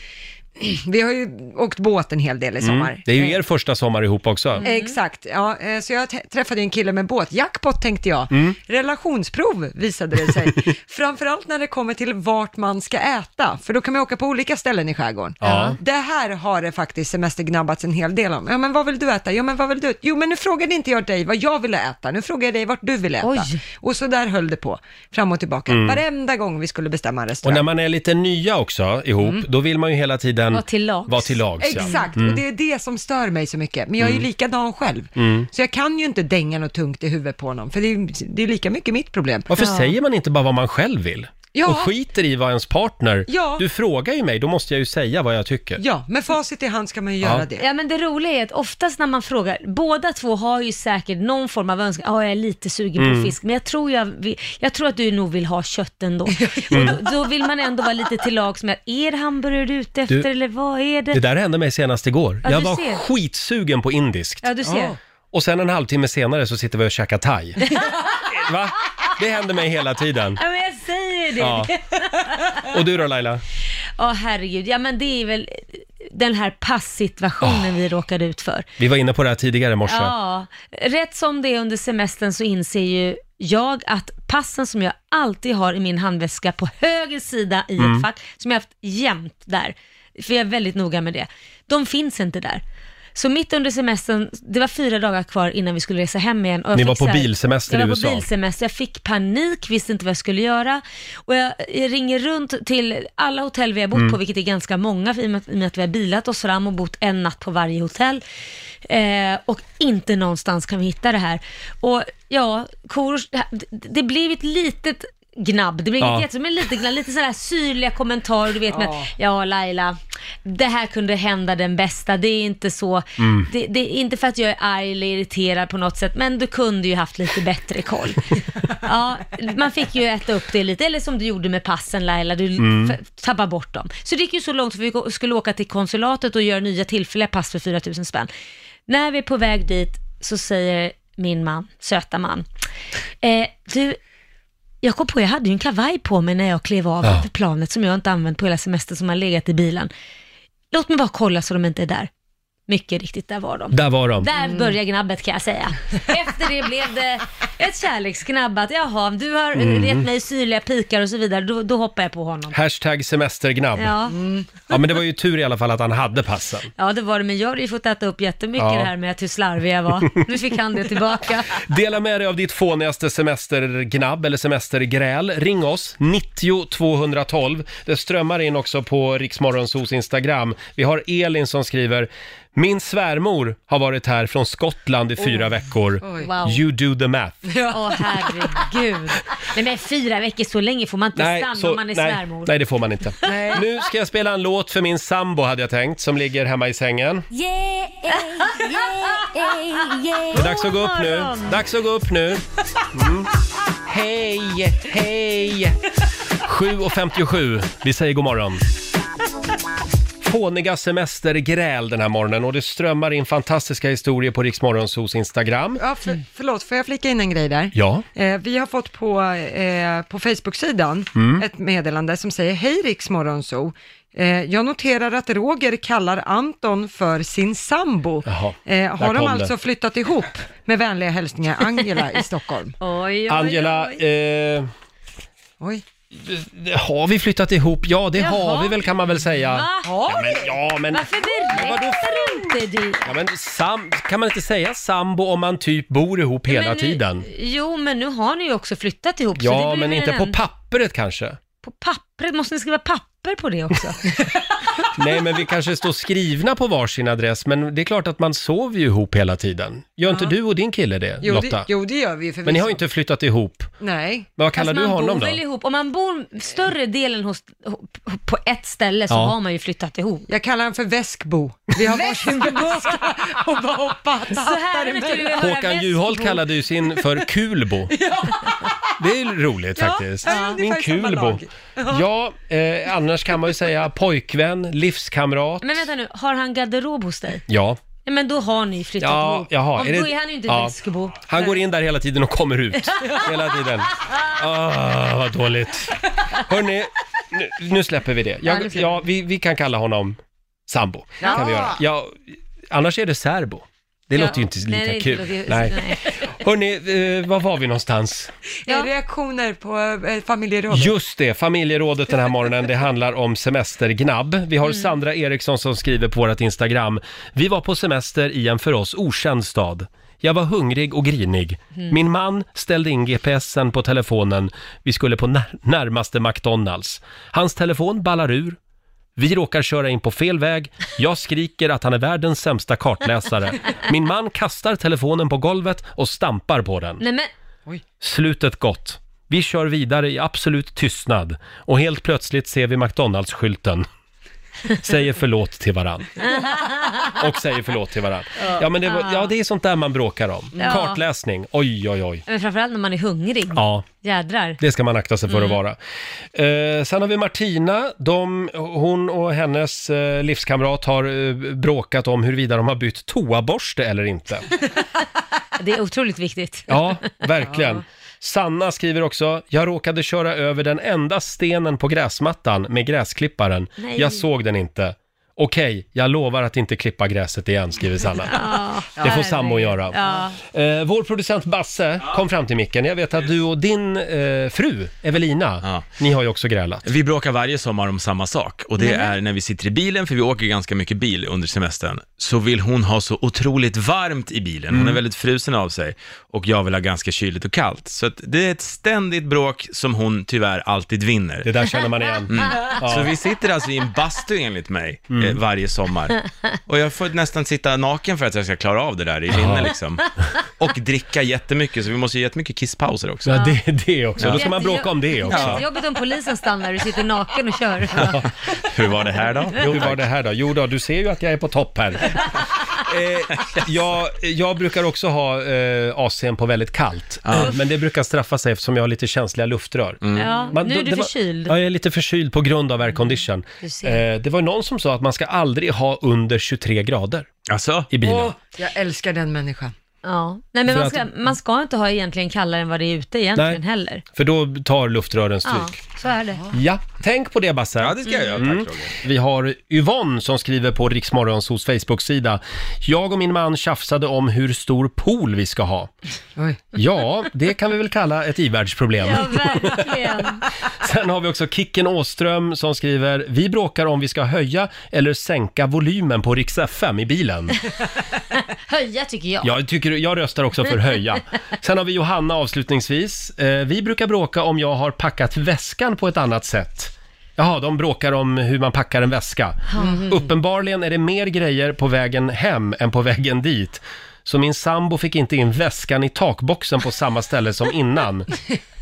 Speaker 3: Vi har ju åkt båt en hel del i sommar.
Speaker 1: Det är ju er första sommar ihop också.
Speaker 2: Mm.
Speaker 3: Exakt, ja, eh, så jag t- träffade en kille med båt. Jackpot tänkte jag.
Speaker 1: Mm.
Speaker 3: Relationsprov visade det sig. Framförallt när det kommer till vart man ska äta, för då kan man åka på olika ställen i skärgården.
Speaker 1: Ja.
Speaker 3: Det här har det faktiskt semestergnabbats en hel del om. Ja, men vad vill du äta? Ja, men vad vill du? Jo, men nu frågade inte jag dig vad jag ville äta, nu frågar jag dig vart du vill äta.
Speaker 2: Oj.
Speaker 3: Och så där höll det på, fram och tillbaka, varenda gång vi skulle bestämma en
Speaker 1: Mm. Och
Speaker 3: restaurang.
Speaker 1: när man är lite nya också ihop, då vill man ju hela tiden den
Speaker 2: Var Mm. till lags.
Speaker 1: Var till lags ja.
Speaker 3: Exakt,
Speaker 1: Mm.
Speaker 3: och det är det som stör mig så mycket. Men jag är ju
Speaker 1: Mm.
Speaker 3: likadan själv.
Speaker 1: Mm.
Speaker 3: Så jag kan ju inte dänga något tungt i huvudet på någon, för det är, ju- det är lika mycket mitt problem.
Speaker 1: Varför säger man inte bara vad man själv vill?
Speaker 3: Ja.
Speaker 1: Och skiter i vad ens partner...
Speaker 3: Ja.
Speaker 1: Du frågar ju mig, då måste jag ju säga vad jag tycker.
Speaker 3: Ja, med facit i hand ska man ju
Speaker 1: Ja.
Speaker 3: göra det.
Speaker 2: Ja men det roliga är att oftast när man frågar, båda två har ju säkert någon form av önskan, ja jag är lite sugen
Speaker 1: Mm.
Speaker 2: på fisk, men jag tror, jag, vill- jag tror att du nog vill ha kött ändå.
Speaker 1: Mm.
Speaker 2: Och då, då vill man ändå vara lite till lags med, är det hamburgare du är ute efter
Speaker 1: Du,
Speaker 2: eller vad är det?
Speaker 1: Det där hände mig senast igår.
Speaker 2: Ja,
Speaker 1: jag
Speaker 2: du
Speaker 1: var
Speaker 2: ser.
Speaker 1: skitsugen på indiskt.
Speaker 2: Ja, du ser. Ah.
Speaker 1: Och sen en halvtimme senare så sitter vi och käkar thai. Va? Det händer mig hela tiden.
Speaker 2: Ja men jag säger det.
Speaker 1: Ja. Och du då Laila?
Speaker 2: Ja, herregud. Ja, men det är väl den här passituationen
Speaker 1: Ah.
Speaker 2: vi råkade ut för.
Speaker 1: Vi var inne på det här tidigare i morse.
Speaker 2: Ja, rätt som det är under semestern så inser ju jag att passen som jag alltid har i min handväska på höger sida i
Speaker 1: Mm.
Speaker 2: ett fack, som jag haft jämt där, för jag är väldigt noga med det, de finns inte där. Så mitt under semestern, det var fyra dagar kvar innan vi skulle resa hem igen. Och jag
Speaker 1: Ni
Speaker 2: fick
Speaker 1: var på
Speaker 2: så här-
Speaker 1: bilsemester
Speaker 2: jag
Speaker 1: i
Speaker 2: var
Speaker 1: USA.
Speaker 2: På bilsemester. Jag fick panik, visste inte vad jag skulle göra. Och jag, jag ringer runt till alla hotell vi har bott
Speaker 1: Mm.
Speaker 2: på, vilket är ganska många, för i och, med, att- i och med att vi har bilat oss fram och bott en natt på varje hotell. Eh, och inte någonstans kan vi hitta det här. Och ja, Korosh, det, här- det- det blev ett litet gnabb, det blev
Speaker 1: Ja.
Speaker 2: inget jättestort, men lite gnabb, lite sådana här syrliga kommentarer, du vet med
Speaker 1: Ja.
Speaker 2: ja Laila, det här kunde hända den bästa, det är inte så,
Speaker 1: Mm.
Speaker 2: det, det är inte för att jag är arg eller irriterad på något sätt, men du kunde ju haft lite bättre koll. ja, man fick ju äta upp det lite, eller som du gjorde med passen Laila, du
Speaker 1: Mm.
Speaker 2: f- tappade bort dem. Så det gick ju så långt att vi gå- skulle åka till konsulatet och göra nya tillfälliga pass för 4 000 spänn. När vi är på väg dit så säger min man, söta man, eh, du, jag kom på, jag hade ju en kavaj på mig när jag klev av
Speaker 1: Ja.
Speaker 2: planet som jag inte använt på hela semestern som har legat i bilen. Låt mig bara kolla så de inte är där. Mycket riktigt, där var de.
Speaker 1: Där var de.
Speaker 2: Där
Speaker 1: Mm.
Speaker 2: började gnabbet kan jag säga. Efter det blev det ett kärleksgnabb att jaha, du har eh,
Speaker 1: Mm.
Speaker 2: gett mig syrliga pikar och så vidare, då, då hoppar jag på honom.
Speaker 1: Hashtag semestergnabb.
Speaker 2: Ja.
Speaker 1: Ja. men det var ju tur i alla fall att han hade passen.
Speaker 2: ja, det var det, men jag har ju fått äta upp jättemycket
Speaker 1: Ja.
Speaker 2: det här med att hur slarvig jag var. Nu fick han det tillbaka.
Speaker 1: Dela med dig av ditt fånigaste semestergnabb eller semestergräl. Ring oss, 90 212. Det strömmar in också på Riksmorgonsos Instagram. Vi har Elin som skriver Min svärmor har varit här från Skottland i fyra veckor.
Speaker 2: Oj. Wow.
Speaker 1: You do the math.
Speaker 2: Åh herregud. Nej men fyra veckor, så länge får man inte stanna om man är
Speaker 1: nej,
Speaker 2: svärmor.
Speaker 1: nej, det får man inte. Nu ska jag spela en låt för min sambo hade jag tänkt, som ligger hemma i sängen.
Speaker 6: Yeah, yeah, yeah.
Speaker 1: Det är dags att gå upp nu. Dags att gå upp nu. Mm. Hej, hej! 7.57. Vi säger god morgon. Fåniga semestergräl den här morgonen och det strömmar in fantastiska historier på Riksmorgonsos Instagram.
Speaker 3: Ja, för, förlåt, får jag flika in en grej där?
Speaker 1: Mm. Ja.
Speaker 3: Eh, vi har fått på, eh, på Facebook-sidan
Speaker 1: Mm.
Speaker 3: ett meddelande som säger Hej Riks Morgonzoo. Eh, jag noterar att Roger kallar Anton för sin sambo. Eh,
Speaker 1: där
Speaker 3: har de
Speaker 1: kom
Speaker 3: alltså
Speaker 1: det.
Speaker 3: flyttat ihop? Med vänliga hälsningar Angela i Stockholm.
Speaker 2: Oj,
Speaker 1: Angela, eh,
Speaker 3: Oj.
Speaker 1: har vi flyttat ihop? Ja, det
Speaker 2: Jaha.
Speaker 1: har vi väl kan man väl säga.
Speaker 2: Va?
Speaker 1: Ja, men, ja, men,
Speaker 2: Ah, Varför berättar du inte det?
Speaker 1: ja, men sam, kan man inte säga sambo om man typ bor ihop hela
Speaker 2: Men nu,
Speaker 1: tiden?
Speaker 2: Jo, men nu har ni ju också flyttat ihop. så
Speaker 1: Ja,
Speaker 2: det blir
Speaker 1: men
Speaker 2: väl
Speaker 1: inte
Speaker 2: en-
Speaker 1: på pappret kanske.
Speaker 2: På pappret? Måste ni skriva papper på det också?
Speaker 1: Nej, men vi kanske står skrivna på varsin adress, men det är klart att man sover ju ihop hela tiden. Gör inte du och din kille det,
Speaker 3: Jo,
Speaker 1: Lotta?
Speaker 3: det, jo, det gör vi ju förvisso.
Speaker 1: men ni har ju inte flyttat ihop.
Speaker 3: Nej.
Speaker 1: Men vad kallar
Speaker 2: Fast
Speaker 1: du
Speaker 2: man
Speaker 1: honom
Speaker 2: bor
Speaker 1: då?
Speaker 2: väl ihop. Om man bor större delen hos, på ett ställe så
Speaker 1: Ja.
Speaker 2: har man ju flyttat ihop.
Speaker 3: Jag kallar honom för väskbo. Vi har varsin väska och bara hoppat.
Speaker 2: Så här vill du höra
Speaker 1: Håkan
Speaker 2: väst-
Speaker 1: Juholt kallade ju sin för Kulbo. Det är ju roligt
Speaker 6: Ja,
Speaker 1: faktiskt.
Speaker 6: ja, det är
Speaker 1: Min
Speaker 6: ungefär samma
Speaker 1: Kulbo.
Speaker 6: lag.
Speaker 1: Ja, eh, annars kan man ju säga pojkvän, livskamrat.
Speaker 2: Men vänta nu, har han garderob hos dig?
Speaker 1: Ja.
Speaker 2: Ja, men då har ni flyttat
Speaker 1: Ja,
Speaker 2: ihop.
Speaker 1: jaha,
Speaker 2: Om,
Speaker 1: är det-
Speaker 2: Då är han ju inte
Speaker 1: ja.
Speaker 2: väskbo.
Speaker 1: Han går in där hela tiden och kommer ut. Hela tiden. Ah, vad dåligt. Hörni, nu, nu släpper vi det.
Speaker 2: Ja, nu
Speaker 1: Jag,
Speaker 2: släpper
Speaker 1: ja, vi, vi kan kalla honom sambo.
Speaker 2: Ja.
Speaker 1: Kan vi göra. Ja, annars är det serbo. Det
Speaker 2: Ja,
Speaker 1: låter ju inte
Speaker 2: nej,
Speaker 1: lika
Speaker 2: det
Speaker 1: kul.
Speaker 2: låter-
Speaker 1: nej.
Speaker 2: nej.
Speaker 1: Hörni, eh, var var vi någonstans?
Speaker 3: Eh, Reaktioner på eh, familjerådet.
Speaker 1: Just det, familjerådet den här morgonen, det handlar om semestergnabb. Vi har Sandra Eriksson som skriver på vårt Instagram. Vi var på semester i en för oss okänd stad. Jag var hungrig och grinig.
Speaker 11: Mm.
Speaker 1: Min man ställde in GPSen på telefonen. Vi skulle på när- närmaste McDonalds. Hans telefon ballar ur. Vi råkar köra in på fel väg. Jag skriker att han är världens sämsta kartläsare. Min man kastar telefonen på golvet och stampar på den.
Speaker 2: Nej men,
Speaker 1: Slutet gott. Vi kör vidare i absolut tystnad och helt plötsligt ser vi McDonalds-skylten. Säger förlåt till varann. Och säger förlåt till varann.
Speaker 2: Ja.
Speaker 1: Ja, men det, var, ja, det är sånt där man bråkar om.
Speaker 2: Ja.
Speaker 1: Kartläsning, oj, oj, oj.
Speaker 2: men framförallt när man är hungrig.
Speaker 1: Ja,
Speaker 2: Jädrar.
Speaker 1: det ska man akta sig för att
Speaker 2: Mm.
Speaker 1: vara. Eh, sen har vi Martina. De, hon och hennes eh, livskamrat har eh, bråkat om huruvida de har bytt toaborste eller inte.
Speaker 2: Det är otroligt viktigt.
Speaker 1: Ja, verkligen. Sanna skriver också, jag råkade köra över den enda stenen på gräsmattan med gräsklipparen.
Speaker 2: Nej.
Speaker 1: Jag såg den inte. Okej, jag lovar att inte klippa gräset igen, skriver Sanna. Det får sambon göra.
Speaker 2: Ja.
Speaker 1: Eh, vår producent Basse kom fram till micken. Jag vet att du och din eh, fru Evelina, ni har ju också grälat.
Speaker 4: Vi bråkar varje sommar om samma sak och det
Speaker 1: Nej.
Speaker 4: är när vi sitter i bilen, för vi åker ganska mycket bil under semestern, så vill hon ha så otroligt varmt i bilen. Hon är
Speaker 1: Mm.
Speaker 4: väldigt frusen av sig och jag vill ha ganska kyligt och kallt. Så att det är ett ständigt bråk som hon tyvärr alltid vinner.
Speaker 1: Det där känner man igen.
Speaker 4: Mm.
Speaker 1: Ja.
Speaker 4: Så vi sitter alltså i en bastu enligt mig eh,
Speaker 1: Mm.
Speaker 4: varje sommar. Och jag får nästan sitta naken för att jag ska klara av det där i linne liksom. Och dricka jättemycket, så vi måste ju jättemycket kisspauser också.
Speaker 1: Ja, det, det också. Då ska man bråka om det också.
Speaker 2: Jättejobbigt om polisen stannar och du sitter naken och kör.
Speaker 4: Hur var det här då?
Speaker 1: Jo, hur var det här då? Jo då, du ser ju att jag är på topp här. Eh, jag, jag brukar också ha eh, AC'n på väldigt kallt, Eh, men det brukar straffa sig eftersom jag har lite känsliga luftrör.
Speaker 2: Ja, Mm. nu är
Speaker 1: då-
Speaker 2: du
Speaker 1: det var-
Speaker 2: förkyld.
Speaker 1: Ja, jag är lite förkyld på grund av aircondition.
Speaker 2: Du ser.
Speaker 1: Eh, det var ju någon som sa att man ska aldrig ha under 23 grader
Speaker 4: Alltså,
Speaker 1: i bilen.
Speaker 3: Åh, jag älskar den människan.
Speaker 2: Ja. Nej, men
Speaker 1: För
Speaker 2: man ska,
Speaker 1: att-
Speaker 2: man ska inte ha egentligen kallare än vad det är ute egentligen
Speaker 1: Nej.
Speaker 2: heller.
Speaker 1: För då tar luftrören stryk.
Speaker 2: Ja, så är det.
Speaker 1: Ja, tänk på det Basse. Ja, det
Speaker 4: ska jag göra. Tack,
Speaker 1: Mm.
Speaker 4: Roger.
Speaker 1: Vi har Yvonne som skriver på Riksmorgonsos Facebook-sida. Jag och min man tjafsade om hur stor pool vi ska ha. Ja, det kan vi väl kalla ett ivärldsproblem.
Speaker 2: Ja, verkligen.
Speaker 1: Sen har vi också Kicken Åström som skriver, vi bråkar om vi ska höja eller sänka volymen på Rix FM i bilen.
Speaker 2: Höja tycker jag.
Speaker 1: Jag, tycker, jag röstar också för höja. Sen har vi Johanna avslutningsvis. Eh, vi brukar bråka om jag har packat väskan på ett annat sätt. Jaha, de bråkar om hur man packar en väska. Mm.
Speaker 6: Mhm.
Speaker 1: Uppenbarligen är det mer grejer på vägen hem än på vägen dit. Så min sambo fick inte in väskan i takboxen på samma ställe som innan.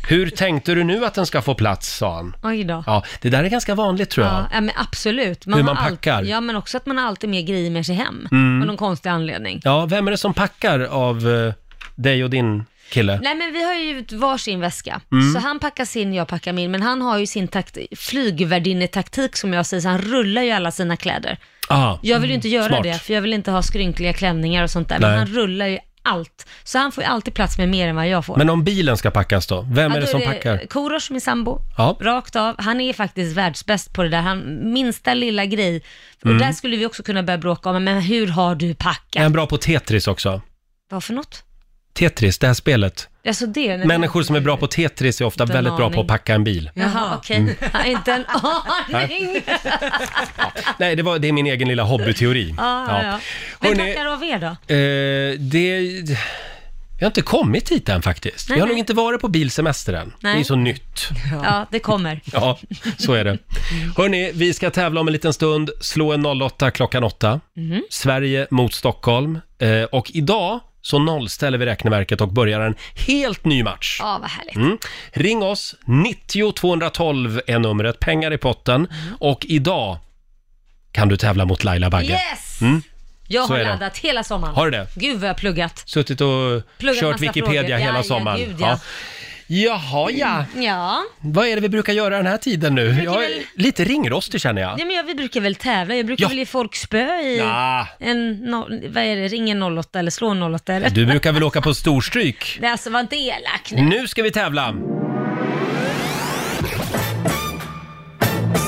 Speaker 1: Hur tänkte du nu att den ska få plats, sa han.
Speaker 2: Oj då.
Speaker 1: Ja, det där är ganska vanligt tror jag.
Speaker 2: Ja, ja, men absolut.
Speaker 1: Hur
Speaker 2: har
Speaker 1: man
Speaker 2: allt-
Speaker 1: packar.
Speaker 2: ja, men också att man har alltid mer grejer med sig hem.
Speaker 1: Mm.
Speaker 2: Av någon konstig anledning.
Speaker 1: Ja, vem är det som packar av eh, dig och din kille?
Speaker 2: Nej men vi har ju varsin väska,
Speaker 1: Mm.
Speaker 2: så han packar sin, jag packar min, men han har ju sin takt- flygvärdinnetaktik som jag säger, så han rullar ju alla sina kläder.
Speaker 1: Ah,
Speaker 2: Jag vill ju inte göra
Speaker 1: smart.
Speaker 2: det, för jag vill inte ha skrynkliga klänningar och sånt där, men
Speaker 1: Nej.
Speaker 2: han rullar ju allt. Så han får ju alltid plats med mer än vad jag får.
Speaker 1: Men om bilen ska packas då? Vem
Speaker 2: Ja,
Speaker 1: är
Speaker 2: då
Speaker 1: det som packar?
Speaker 2: Korosh, min sambo,
Speaker 1: Ja.
Speaker 2: rakt av. Han är faktiskt världsbäst på det där, han, minsta lilla grej.
Speaker 1: Mm.
Speaker 2: Och där skulle vi också kunna börja bråka om, men hur har du packat?
Speaker 1: Är han bra på Tetris också?
Speaker 2: Vad för något?
Speaker 1: Tetris, det här spelet.
Speaker 2: Alltså det? nej,
Speaker 1: Människor som är bra på Tetris är ofta
Speaker 2: Inte en
Speaker 1: väldigt bra på
Speaker 2: aning.
Speaker 1: att packa en bil.
Speaker 2: Jaha, okej.
Speaker 1: Mm.
Speaker 2: Jag har inte en aning.
Speaker 1: Nej, det, var, det är min egen lilla hobbyteori.
Speaker 2: Ah. Ja, ja, ja. Vem
Speaker 1: Hörrni,
Speaker 2: tackar av er då?
Speaker 1: eh, det... Vi har inte kommit hit än faktiskt.
Speaker 2: Nej,
Speaker 1: vi har
Speaker 2: nej.
Speaker 1: nog inte varit på bilsemester än.
Speaker 2: Nej.
Speaker 1: Det är så nytt.
Speaker 2: Ja, det kommer.
Speaker 1: Ja, så är det. Hörni, vi ska tävla om en liten stund. Slå en 08 klockan 8.
Speaker 6: Mhm.
Speaker 1: Sverige mot Stockholm. Eh, och idag så nollställer vi räkneverket och börjar en helt ny match.
Speaker 2: Ja, vad härligt.
Speaker 1: Mm. Ring oss, 90 212 är numret, pengar i potten.
Speaker 2: Mm.
Speaker 1: Och idag kan du tävla mot Laila Bagge.
Speaker 2: Yes!
Speaker 1: Mm.
Speaker 2: Jag
Speaker 1: Så
Speaker 2: har
Speaker 1: är det.
Speaker 2: laddat hela sommaren.
Speaker 1: Har du det?
Speaker 2: Gud vad jag har pluggat.
Speaker 1: Suttit och
Speaker 2: Pluggat
Speaker 1: kört
Speaker 2: massa
Speaker 1: Wikipedia
Speaker 2: frågor.
Speaker 1: hela
Speaker 2: Ja, ja,
Speaker 1: sommaren.
Speaker 2: gud, ja.
Speaker 1: Jaha, ja.
Speaker 2: Ja.
Speaker 1: Vad är det vi brukar göra den här tiden nu? Jag är lite ringrostig känner jag.
Speaker 2: Nej, men jag, vi brukar väl tävla. Jag brukar
Speaker 1: Ja.
Speaker 2: väl ge folk spö i
Speaker 1: Ja.
Speaker 2: en, no, vad är det, ring en 08 eller slå en 08 eller?
Speaker 1: Du Mm. brukar väl åka på storstryk?
Speaker 2: Nej, alltså var inte elak nu.
Speaker 1: Nu ska vi tävla!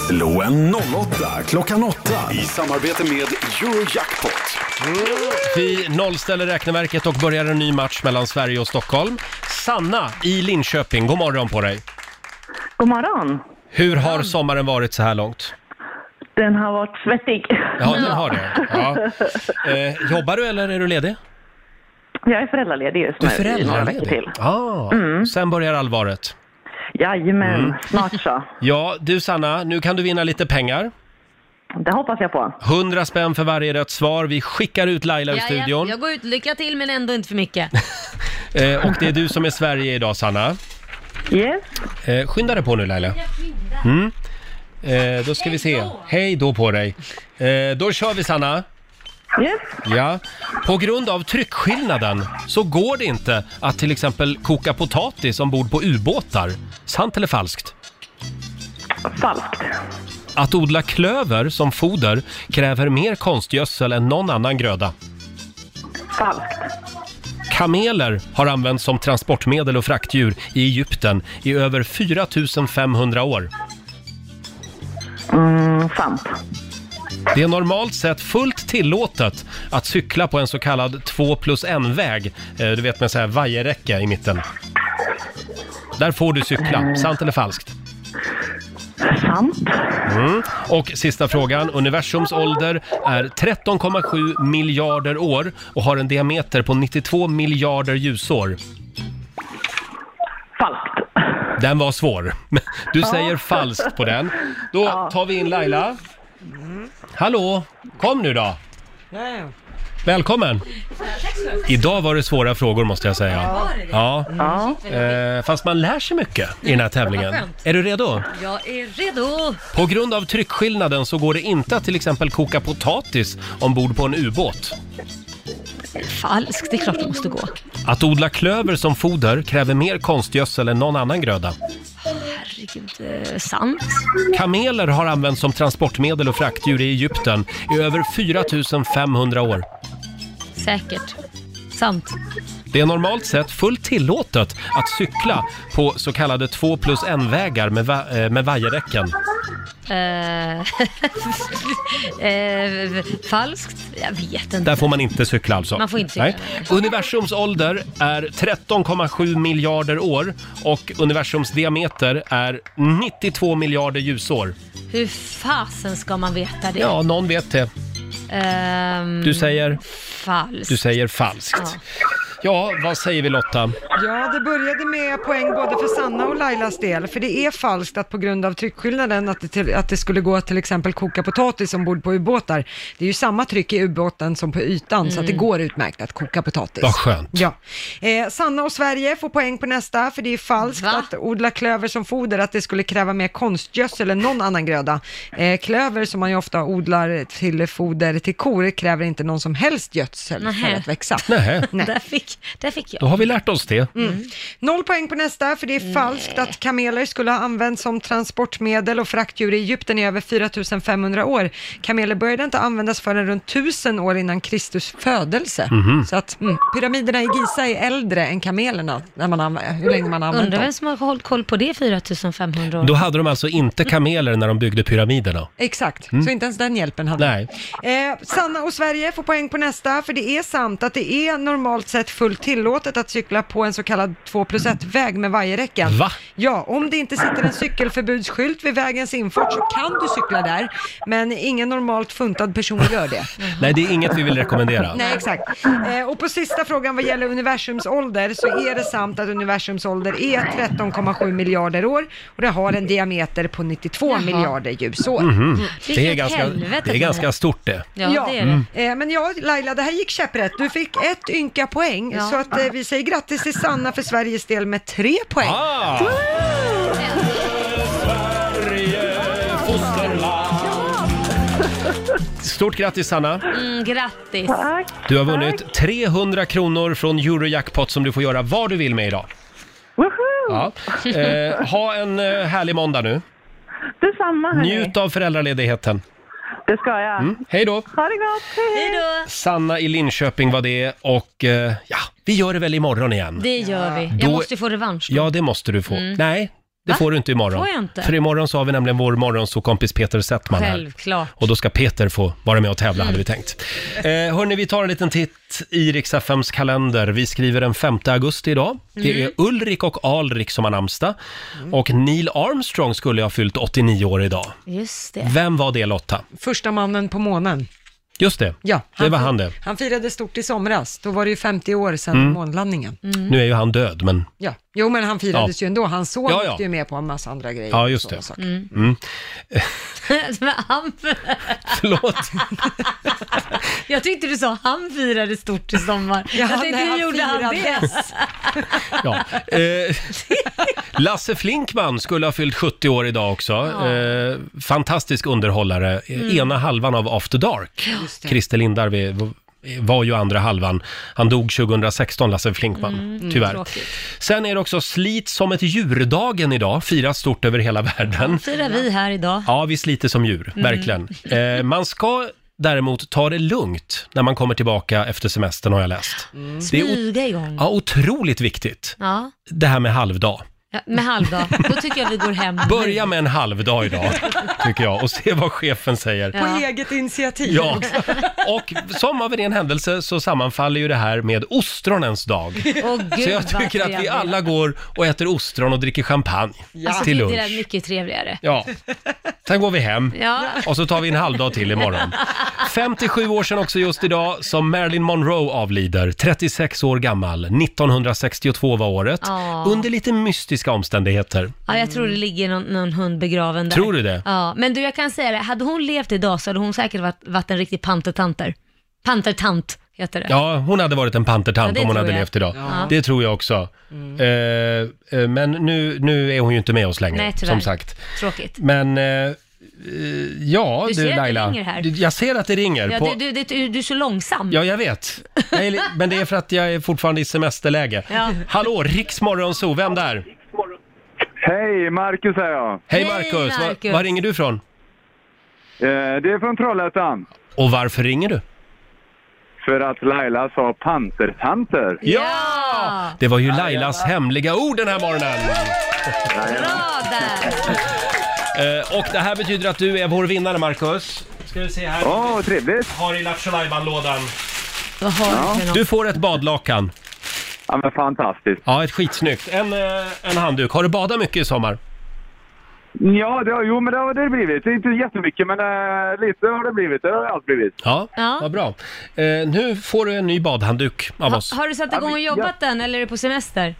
Speaker 11: Slå en 08 klockan 8 i samarbete med Eurojackpot.
Speaker 1: Vi nollställer räkneverket och börjar en ny match mellan Sverige och Stockholm. Sanna i Linköping, god morgon på dig!
Speaker 12: God morgon.
Speaker 1: Hur har sommaren varit så här långt?
Speaker 12: Den har varit svettig.
Speaker 1: Ja, den har det. Ja. Eh, jobbar du eller är du ledig?
Speaker 12: Jag är föräldraledig just
Speaker 1: Du
Speaker 12: nu
Speaker 1: är
Speaker 12: i några veckor
Speaker 1: föräldraledig.
Speaker 12: till.
Speaker 1: Ah, Sen börjar allvaret.
Speaker 12: Jajamän,
Speaker 1: Mm.
Speaker 12: snart så.
Speaker 1: Ja, du Sanna, nu kan du vinna lite pengar.
Speaker 12: Det hoppas jag på.
Speaker 1: 100 spänn för varje rätt svar. Vi skickar ut Laila ur
Speaker 2: Ja, ja,
Speaker 1: studion.
Speaker 2: Jag går ut, lycka till men ändå inte för mycket.
Speaker 1: Eh, och det är du som är Sverige idag, Sanna. Yes. Eh, skynda dig på nu, Laila. Mm. Eh, då ska vi se. Hej då på dig. Eh, då kör vi, Sanna.
Speaker 12: Yes.
Speaker 1: Ja. På grund av tryckskillnaden så går det inte att till exempel koka potatis ombord på ubåtar. Sant eller falskt?
Speaker 12: Falskt.
Speaker 1: Att odla klöver som foder kräver mer konstgödsel än någon annan gröda.
Speaker 12: Falskt.
Speaker 1: Kameler har använts som transportmedel och fraktdjur i Egypten i över 4 500 år.
Speaker 12: Mm, sant.
Speaker 1: Det är normalt sett fullt tillåtet att cykla på en så kallad 2 plus 1-väg. Eh, Du vet med så här vajerräcke i mitten. Där får du cykla. Sant eller falskt?
Speaker 12: Sant.
Speaker 1: Mm. Och sista frågan. Universums ålder är 13,7 miljarder år och har en diameter på 92 miljarder ljusår.
Speaker 12: Falskt.
Speaker 1: Den var svår. Du säger falskt på den. Då tar vi in Laila. Hallå, kom nu då.
Speaker 3: Ja,
Speaker 1: Välkommen! Idag var det svåra frågor måste jag säga.
Speaker 2: Var det det?
Speaker 1: Ja.
Speaker 2: Ja.
Speaker 1: Eh, fast man lär sig mycket i den här tävlingen.
Speaker 2: Vad skönt.
Speaker 1: Är du redo?
Speaker 2: Jag är redo.
Speaker 1: På grund av tryckskillnaden så går det inte att till exempel koka potatis ombord på en ubåt.
Speaker 2: Falskt, det är klart det måste gå.
Speaker 1: Att odla klöver som foder kräver mer konstgödsel än någon annan gröda.
Speaker 2: Herregud, eh, sant.
Speaker 1: Kameler har använts som transportmedel och fraktdjur i Egypten i över 4 500 år.
Speaker 2: Säkert. Sant.
Speaker 1: Det är normalt sett fullt tillåtet att cykla på så kallade 2 plus 1-vägar med, va- eh, med vajerräcken.
Speaker 2: Eh, eh, falskt? Jag vet inte.
Speaker 1: Där får man inte cykla alltså.
Speaker 2: Man får inte cykla.
Speaker 1: Universums ålder är 13,7 miljarder år och universums diameter är 92 miljarder ljusår.
Speaker 2: Hur fasen ska man veta det?
Speaker 1: Ja, någon vet det.
Speaker 2: Ehm,
Speaker 1: Du säger,
Speaker 2: Falskt.
Speaker 1: du säger falskt. Ja, vad säger vi Lotta?
Speaker 3: Ja, det började med poäng både för Sanna och Lailas del, för det är falskt att på grund av tryckskillnaden att det, till, att det skulle gå att till exempel koka potatis ombord på ubåtar. Det är ju samma tryck i ubåten som på ytan, så att det går utmärkt att koka potatis.
Speaker 1: Vad skönt.
Speaker 3: Ja. Eh, Sanna och Sverige får poäng på nästa, för det är falskt att odla klöver som foder, att det skulle kräva mer konstgödsel än någon annan gröda. Eh, klöver som man ju ofta odlar till foder till kor kräver inte någon som helst gödsel
Speaker 2: Nähä.
Speaker 3: för att växa.
Speaker 1: Nähä.
Speaker 2: Där, fick, där fick jag.
Speaker 1: Då har vi lärt oss det.
Speaker 3: Mm. Noll poäng på nästa, för det är falskt att kameler skulle ha använts som transportmedel och fraktdjur i Egypten i över 4500 år. Kameler började inte användas förrän runt 1000 år innan Kristus födelse.
Speaker 2: Mhm.
Speaker 3: Så att mm, pyramiderna i Giza är äldre än kamelerna, när man anv- hur länge man har använt
Speaker 2: Undrar
Speaker 3: dem.
Speaker 2: vem som har hållit koll på det 4500 år.
Speaker 1: Då hade de alltså inte kameler när de byggde pyramiderna.
Speaker 3: Exakt,
Speaker 1: Mm.
Speaker 3: så inte ens den hjälpen hade
Speaker 1: Nej.
Speaker 3: Eh, Sanna och Sverige får poäng på nästa, för det är sant att det är normalt sett fullt tillåtet att cykla på en så kallad 2 plus 1-väg med vajerräcken.
Speaker 1: Va?
Speaker 3: Ja, om det inte sitter en cykelförbudsskylt vid vägens infart så kan du cykla där, men ingen normalt funtad person gör det.
Speaker 1: Nej, det är inget vi vill rekommendera.
Speaker 3: Nej, exakt. Eh, och på sista frågan vad gäller universums ålder så är det sant att universums ålder är 13,7 miljarder år och det har en diameter på 92 miljarder ljusår.
Speaker 1: Mhm. Det, är
Speaker 3: Vilket
Speaker 1: ganska,
Speaker 3: helvete
Speaker 1: det är
Speaker 3: det
Speaker 1: ganska Mm.
Speaker 3: är.
Speaker 1: stort det.
Speaker 3: Ja, det är det. Eh, Men ja, Laila, det här gick käpprätt. Du fick ett ynka poäng,
Speaker 2: Ja.
Speaker 3: så att eh, vi säger grattis till Sanna för Sveriges del med tre poäng.
Speaker 1: Ah! Stort grattis Sanna!
Speaker 2: Mm, grattis.
Speaker 1: Du har vunnit 300 kronor från Eurojackpot som du får göra vad du vill med idag. Ja. Eh, ha en eh, härlig måndag nu.
Speaker 12: Detsamma hörni.
Speaker 1: Njut av föräldraledigheten.
Speaker 12: Det ska jag.
Speaker 1: Mm. Hej då!
Speaker 12: Ha det gott. Hej
Speaker 2: då.
Speaker 1: Sanna i Linköping var det och eh, ja, vi gör det väl imorgon igen.
Speaker 2: Det gör vi.
Speaker 1: Då-
Speaker 2: Jag måste ju få revansch.
Speaker 1: Ja, det måste du få.
Speaker 2: Mm.
Speaker 1: Nej, det
Speaker 2: Va?
Speaker 1: får du inte imorgon.
Speaker 2: Får jag inte?
Speaker 1: För imorgon så har vi nämligen vår morgonsåkompis Peter Settman här.
Speaker 2: Självklart.
Speaker 1: Och då ska Peter få vara med och tävla, hade vi tänkt. Eh, hörni, vi tar en liten titt i Riks-FMs kalender. Vi skriver den 5 augusti idag. Det är
Speaker 13: Mm.
Speaker 1: Ulrik och Alrik som har namnsdag. Och Neil Armstrong skulle ha fyllt 89 år idag.
Speaker 2: Just det.
Speaker 1: Vem var det Lotta?
Speaker 3: Första mannen på månen.
Speaker 1: Just det,
Speaker 3: Ja,
Speaker 1: det var han det.
Speaker 3: Han firade stort i somras. Då var det ju 50 år sedan
Speaker 1: Mm.
Speaker 3: månlandningen.
Speaker 1: Nu är ju han död, men
Speaker 3: Ja. Jo, men han firades
Speaker 1: Ja.
Speaker 3: ju ändå. Hans son
Speaker 1: Ja, ja.
Speaker 3: åkte ju med på en massa andra grejer.
Speaker 1: Ja, just
Speaker 3: och sådana
Speaker 1: det.
Speaker 3: saker.
Speaker 1: Mm.
Speaker 2: Men han...
Speaker 1: Förlåt.
Speaker 2: Jag tyckte du sa han firade stort i sommar.
Speaker 3: Ja,
Speaker 2: jag tänkte
Speaker 3: nej,
Speaker 2: hur
Speaker 3: han
Speaker 2: gjorde han det?
Speaker 3: firades.
Speaker 1: Ja. Eh, Lasse Flinkman skulle ha fyllt 70 år idag också.
Speaker 2: Ja.
Speaker 1: Eh, fantastisk underhållare. Eh,
Speaker 2: Mm.
Speaker 1: Ena halvan av After Dark.
Speaker 2: Just det.
Speaker 1: Christer Lindarw är- var ju andra halvan. Han dog 2016, Lasse Flinkman,
Speaker 2: Mm,
Speaker 1: tyvärr.
Speaker 2: tråkigt.
Speaker 1: Sen är det också Slit som ett djurdagen idag, firas stort över hela världen.
Speaker 2: Firar vi här idag.
Speaker 1: Ja, vi sliter som djur,
Speaker 2: Mm.
Speaker 1: verkligen. Eh, man ska däremot ta det lugnt när man kommer tillbaka efter semestern har jag läst.
Speaker 2: Mm.
Speaker 1: Det är o-
Speaker 2: Smyga igång.
Speaker 1: Ja, otroligt viktigt.
Speaker 2: Ja.
Speaker 1: Det här med halvdag.
Speaker 2: Ja, med halvdag. Då tycker jag vi går hem.
Speaker 1: Börja med en halvdag idag, tycker jag, och se vad chefen säger.
Speaker 3: På eget initiativ.
Speaker 1: Ja, och som av en ren händelse så sammanfaller ju det här med ostronens dag.
Speaker 2: Åh, gud,
Speaker 1: så jag
Speaker 2: vad
Speaker 1: tycker att vi
Speaker 2: trevligt.
Speaker 1: alla går och äter ostron och dricker champagne
Speaker 2: Alltså,
Speaker 1: till
Speaker 2: Det där är
Speaker 1: lunch.
Speaker 2: mycket trevligare.
Speaker 1: Ja. Sen går vi hem
Speaker 2: Ja.
Speaker 1: och så tar vi en halvdag till imorgon. 57 år sedan också just idag som Marilyn Monroe avlider, 36 år gammal. 1962 var året,
Speaker 2: Ja.
Speaker 1: under lite mystiska omständigheter.
Speaker 2: Ja, jag tror det ligger någon, någon hund begraven där.
Speaker 1: Tror du det?
Speaker 2: Ja, men du jag kan säga det, hade hon levt idag så hade hon säkert varit, varit en riktig pantertanter. Pantertant heter det.
Speaker 1: Ja, hon hade varit en
Speaker 2: Ja,
Speaker 1: pantertant
Speaker 2: det
Speaker 1: om hon
Speaker 2: tror
Speaker 1: hade
Speaker 2: jag.
Speaker 1: levt idag.
Speaker 2: Ja. Mm.
Speaker 1: Det tror jag också. Eh, eh, men nu, nu är hon ju inte med oss längre,
Speaker 2: Nej, tyvärr.
Speaker 1: som sagt.
Speaker 2: Tråkigt.
Speaker 1: Men eh, eh, ja,
Speaker 2: Du
Speaker 1: du,
Speaker 2: ser att det
Speaker 1: Laila.
Speaker 2: ringer här.
Speaker 1: Du- Jag ser att det ringer.
Speaker 2: Ja,
Speaker 1: på...
Speaker 2: du, du, du, du är så långsam.
Speaker 1: Ja, jag vet. Jag är li- men det är för att jag är fortfarande i semesterläge.
Speaker 2: Ja.
Speaker 1: Hallå, Riksmorgonzoo, vem där?
Speaker 13: Hej, Marcus här jag.
Speaker 1: Hej Marcus, var, var ringer du ifrån?
Speaker 13: Eh, det är från Trollhättan.
Speaker 1: Och varför ringer du?
Speaker 13: För att Laila sa pantertanter.
Speaker 1: Ja! Det var ju Lailas hemliga ord den här morgonen.
Speaker 2: Bra där!
Speaker 1: Eh, och det här betyder att du är vår vinnare, Marcus. Ska vi se här.
Speaker 13: Åh, trevligt.
Speaker 1: Har i Lattjo-lådan.
Speaker 2: Vad har du för
Speaker 1: Du
Speaker 2: något?
Speaker 1: får ett badlakan.
Speaker 13: Ja, men fantastiskt.
Speaker 1: Ja, ett skitsnyggt. En, eh, en handduk. Har du badat mycket i sommar?
Speaker 13: Ja, det har, jo, men det har det blivit. Det är Inte jättemycket, men eh, lite har det blivit. Det har det allt blivit.
Speaker 1: Ja,
Speaker 2: Ja.
Speaker 1: vad bra. Eh, nu får du en ny badhandduk av oss.
Speaker 2: Har du satt igång och jobbat den eller är du på semester?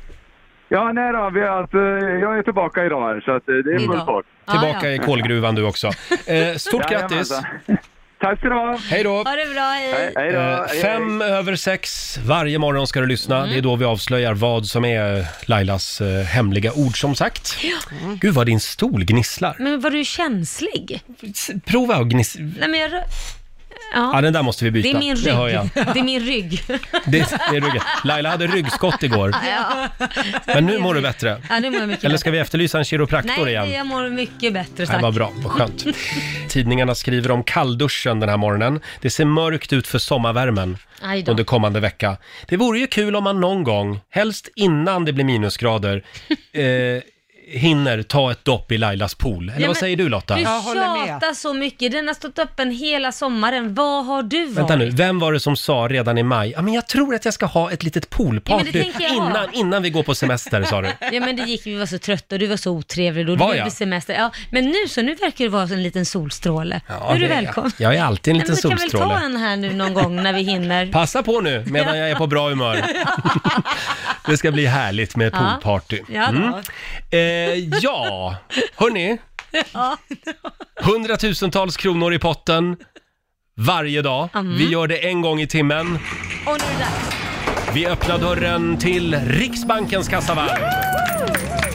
Speaker 13: Ja, nej då. Vi har, haft, eh, jag är tillbaka idag här, så att, eh, det är full
Speaker 2: Idag.
Speaker 13: fart.
Speaker 1: Tillbaka
Speaker 2: Ah, ja.
Speaker 1: i kolgruvan du också. Eh, stort
Speaker 13: Jajamensan.
Speaker 1: grattis!
Speaker 13: alltså. Tack ska du ha!
Speaker 1: Hej då!
Speaker 2: Ha det bra, hej!
Speaker 13: Hej då!
Speaker 1: Eh,
Speaker 13: Hej,
Speaker 1: fem över sex varje morgon ska du lyssna.
Speaker 2: Mm.
Speaker 1: Det är då vi avslöjar vad som är Lailas eh, hemliga ord som sagt. Gud vad din stol gnisslar.
Speaker 2: Men var du känslig?
Speaker 1: Prova att gnissla.
Speaker 2: Nej men jag... rö-
Speaker 1: Ja, den där måste vi byta.
Speaker 2: Det är min
Speaker 1: Det hör jag.
Speaker 2: rygg. Det är min rygg.
Speaker 1: Det, det är ryggen. Laila hade ryggskott igår,
Speaker 2: Ja,
Speaker 1: men nu mår du bättre.
Speaker 2: ja, det mår jag mycket
Speaker 1: Eller ska vi efterlysa en
Speaker 2: bättre.
Speaker 1: kiropraktor
Speaker 2: Nej,
Speaker 1: igen?
Speaker 2: Nej, jag mår mycket bättre
Speaker 1: Det
Speaker 2: tack.
Speaker 1: var bra, vad skönt. Tidningarna skriver om kallduschen den här morgonen. Det ser mörkt ut för sommarvärmen
Speaker 2: Aj då.
Speaker 1: under kommande vecka. Det vore ju kul om man någon gång, helst innan det blir minusgrader, eh, hinner ta ett dopp i Lailas pool. Eller
Speaker 2: Nej,
Speaker 1: vad
Speaker 2: men
Speaker 1: säger du Lotta?
Speaker 2: Du
Speaker 3: Jag håller med.
Speaker 2: tjatar så mycket. Den har stått öppen hela sommaren. Vad har du varit?
Speaker 1: Vänta nu, vem var det som sa redan i maj, ja men jag tror att jag ska ha ett litet
Speaker 2: Ja, men det
Speaker 1: poolparty
Speaker 2: tänker jag ha.
Speaker 1: innan, innan vi går på semester, sa du.
Speaker 2: Ja men det gick, vi var så trötta och du var så otrevlig då.
Speaker 1: Var
Speaker 2: Var
Speaker 1: jag?
Speaker 2: jag? Semester. Ja, men nu så, nu verkar du vara en liten solstråle.
Speaker 1: Ja,
Speaker 2: nu är du
Speaker 1: det är jag.
Speaker 2: välkommen.
Speaker 1: Jag är alltid en liten
Speaker 2: Nej, men Du kan
Speaker 1: solstråle.
Speaker 2: väl ta en här nu någon gång när vi hinner.
Speaker 1: Passa på nu medan jag är på bra humör. Det ska bli härligt med
Speaker 2: Ja.
Speaker 1: poolparty.
Speaker 2: Ja då.
Speaker 1: Eh, ja, hörni.
Speaker 2: Ja.
Speaker 1: Hundratusentals kronor i potten varje dag.
Speaker 2: Mm.
Speaker 1: Vi gör det en gång i timmen.
Speaker 2: Och nu är det dags.
Speaker 1: Vi öppnar dörren till Riksbankens kassavalv.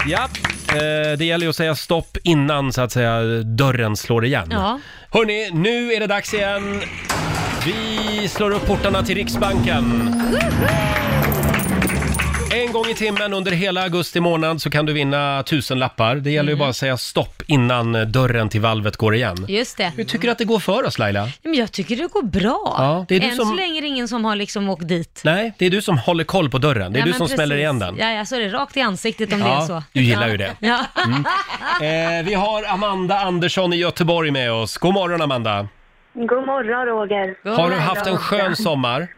Speaker 1: Ja, eh, det gäller ju att säga stopp innan så att säga dörren slår igen.
Speaker 2: Ja.
Speaker 1: Hörni, nu är det dags igen. Vi slår upp portarna till Riksbanken. En gång i timmen under hela augusti månad så kan du vinna tusenlappar. Det
Speaker 2: Mm.
Speaker 1: gäller ju bara att säga stopp innan eh, dörren till valvet går igen.
Speaker 2: Just det.
Speaker 1: Hur tycker du att det går för oss Laila?
Speaker 2: Men jag tycker det går bra.
Speaker 1: Ja, det är du
Speaker 2: Än
Speaker 1: som-
Speaker 2: så länge är det ingen som har liksom åkt dit.
Speaker 1: Nej, det är du som håller koll på dörren. Det är
Speaker 2: Ja,
Speaker 1: du
Speaker 2: men
Speaker 1: som smäller
Speaker 2: precis.
Speaker 1: igen den.
Speaker 2: Ja, ja, så är det rakt i ansiktet om det är så.
Speaker 1: du gillar ju det.
Speaker 2: Ja.
Speaker 1: Eh, vi har Amanda Andersson i Göteborg med oss. God morgon Amanda!
Speaker 12: God morgon, Roger.
Speaker 1: Har du haft en skön sommar?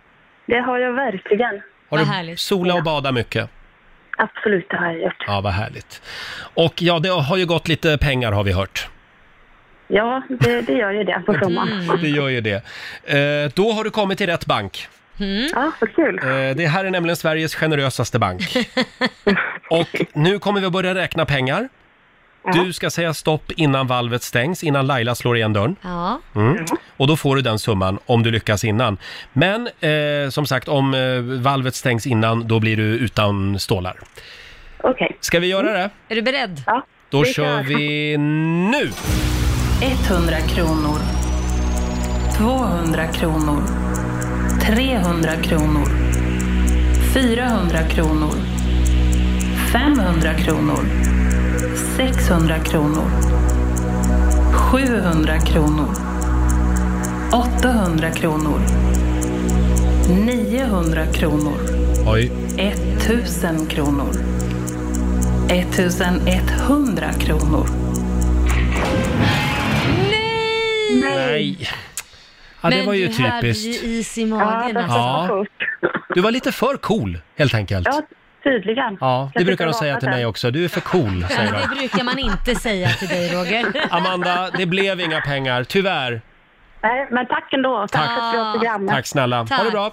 Speaker 12: Det har jag verkligen.
Speaker 1: Har du sola och bada mycket?
Speaker 12: Absolut, det har jag gjort.
Speaker 1: Ja, vad härligt. Och ja, det har ju gått lite pengar har vi hört.
Speaker 12: Ja, det, det gör ju det på sommaren.
Speaker 2: Mm.
Speaker 1: Det gör ju det. Eh, då har du kommit till rätt bank.
Speaker 12: Ja, vad kul.
Speaker 1: Eh, det här är nämligen Sveriges generösaste bank. Och nu kommer vi att börja räkna pengar. Du ska säga stopp innan valvet stängs, innan Laila slår igen dörren.
Speaker 2: Ja.
Speaker 1: Mm. Och då får du den summan om du lyckas innan. Men eh, som sagt, om eh, valvet stängs innan, då blir du utan stålar.
Speaker 12: Okej.
Speaker 1: Ska vi göra det?
Speaker 2: Är du beredd?
Speaker 12: Ja.
Speaker 1: Då kör vi nu!
Speaker 8: 100 kronor. 200 kronor. 300 kronor. 400 kronor. 500 kronor. 600 kronor. 700 kronor. 800 kronor. 900 kronor.
Speaker 1: Oj.
Speaker 8: 1000 kronor. 1100 kronor.
Speaker 1: Nej! Ja, det
Speaker 2: Men
Speaker 1: var ju
Speaker 2: du hade
Speaker 1: typiskt.
Speaker 2: ju is i magen. alltså.
Speaker 1: Ja. Du var lite för cool, helt enkelt.
Speaker 12: Ja, tydligen.
Speaker 1: Ja,
Speaker 12: Jag
Speaker 1: det brukar de
Speaker 12: tycker
Speaker 1: säga
Speaker 12: om
Speaker 1: till
Speaker 12: den.
Speaker 1: mig också. Du är för cool,
Speaker 2: Nej,
Speaker 1: säger de.
Speaker 2: det brukar man inte säga till dig Roger.
Speaker 1: Amanda, det blev inga pengar, tyvärr.
Speaker 12: Nej, men tack ändå. Tack för ett bra program.
Speaker 1: Tack snälla. Ha det bra.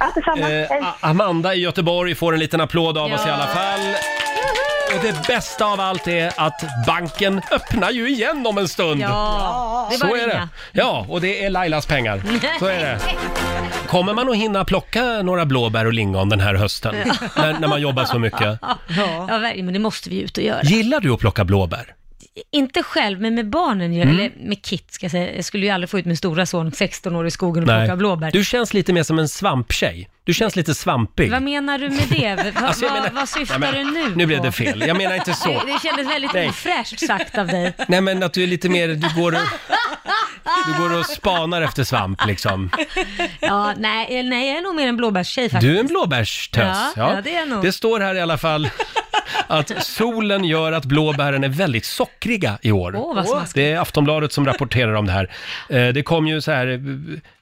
Speaker 12: Ja, detsamma.
Speaker 1: Eh,
Speaker 12: Hej.
Speaker 1: A- Amanda i Göteborg får en liten applåd av oss i alla fall. Och det bästa av allt är att banken öppnar ju igen om en stund.
Speaker 2: Ja, det är bara
Speaker 1: Så
Speaker 2: att
Speaker 1: är det.
Speaker 2: ringa.
Speaker 1: Ja, och det är Lailas pengar. Så är det. Kommer man att hinna plocka några blåbär och lingon den här hösten?
Speaker 2: Ja.
Speaker 1: När, när man jobbar så mycket.
Speaker 2: Ja, ja verkligen, men det måste vi ut och göra.
Speaker 1: Gillar du att plocka blåbär?
Speaker 2: Inte själv, men med barnen, gör-
Speaker 1: Mm.
Speaker 2: eller med Kit ska jag säga. Jag skulle ju aldrig få ut min stora son, 16 år, i skogen och plocka blåbär.
Speaker 1: Du känns lite mer som en svamptjej. Du känns lite svampig.
Speaker 2: Vad menar du med det? Va,
Speaker 1: Alltså, jag
Speaker 2: vad-
Speaker 1: menar-
Speaker 2: vad syftar
Speaker 1: Nej,
Speaker 2: du
Speaker 1: men-
Speaker 2: nu
Speaker 1: nu blev
Speaker 2: på?
Speaker 1: det fel. Jag menar inte så.
Speaker 2: Det, det kändes väldigt
Speaker 1: Nej.
Speaker 2: ofräscht sagt av dig.
Speaker 1: Nej men att du är lite mer, du går, du går och spanar efter svamp liksom.
Speaker 2: Ja, nej, eh, nej, jag är nog mer en blåbärstjej faktiskt.
Speaker 1: Du är en blåbärstös.
Speaker 2: Ja, ja, det är jag nog.
Speaker 1: det står här i alla fall att solen gör att blåbären är väldigt sockriga i år.
Speaker 2: Åh, vad smaskigt.
Speaker 1: det är Aftonbladet som rapporterar om det här. Eh, Det kom ju så här eh,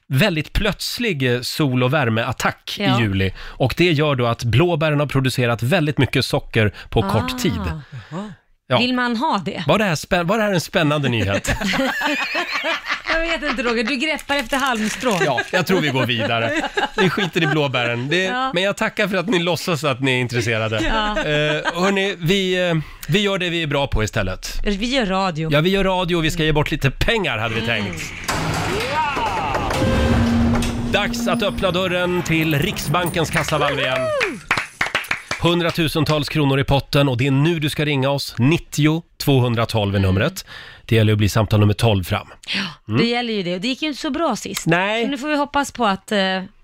Speaker 1: väldigt plötslig eh, sol och värmeattack
Speaker 2: Ja.
Speaker 1: i juli och det gör då att blåbären har producerat väldigt mycket socker på
Speaker 2: Ah.
Speaker 1: kort tid. Ja.
Speaker 2: Vill man ha det?
Speaker 1: Var det, här spä- var det här en spännande nyhet?
Speaker 2: jag vet inte Roger, du greppar efter halmstrån.
Speaker 1: Ja, jag tror vi går vidare. Vi skiter i blåbären. Det,
Speaker 2: Ja.
Speaker 1: Men jag tackar för att ni låtsas att ni är intresserade.
Speaker 2: Ja.
Speaker 1: Eh, hörni, vi, eh, vi gör det vi är bra på istället.
Speaker 2: Vi gör radio.
Speaker 1: Ja, vi gör radio och vi ska ge bort lite pengar hade vi
Speaker 2: Mm.
Speaker 1: tänkt. Dags att öppna dörren till Riksbankens kassavalv igen. Hundratusentals kronor i potten och det är nu du ska ringa oss. 90 212 är numret. Det gäller att bli samtal nummer 12 fram. Mm.
Speaker 2: Det gäller ju det. Och det gick ju inte så bra sist.
Speaker 1: Nej.
Speaker 2: Så nu får vi hoppas på att eh,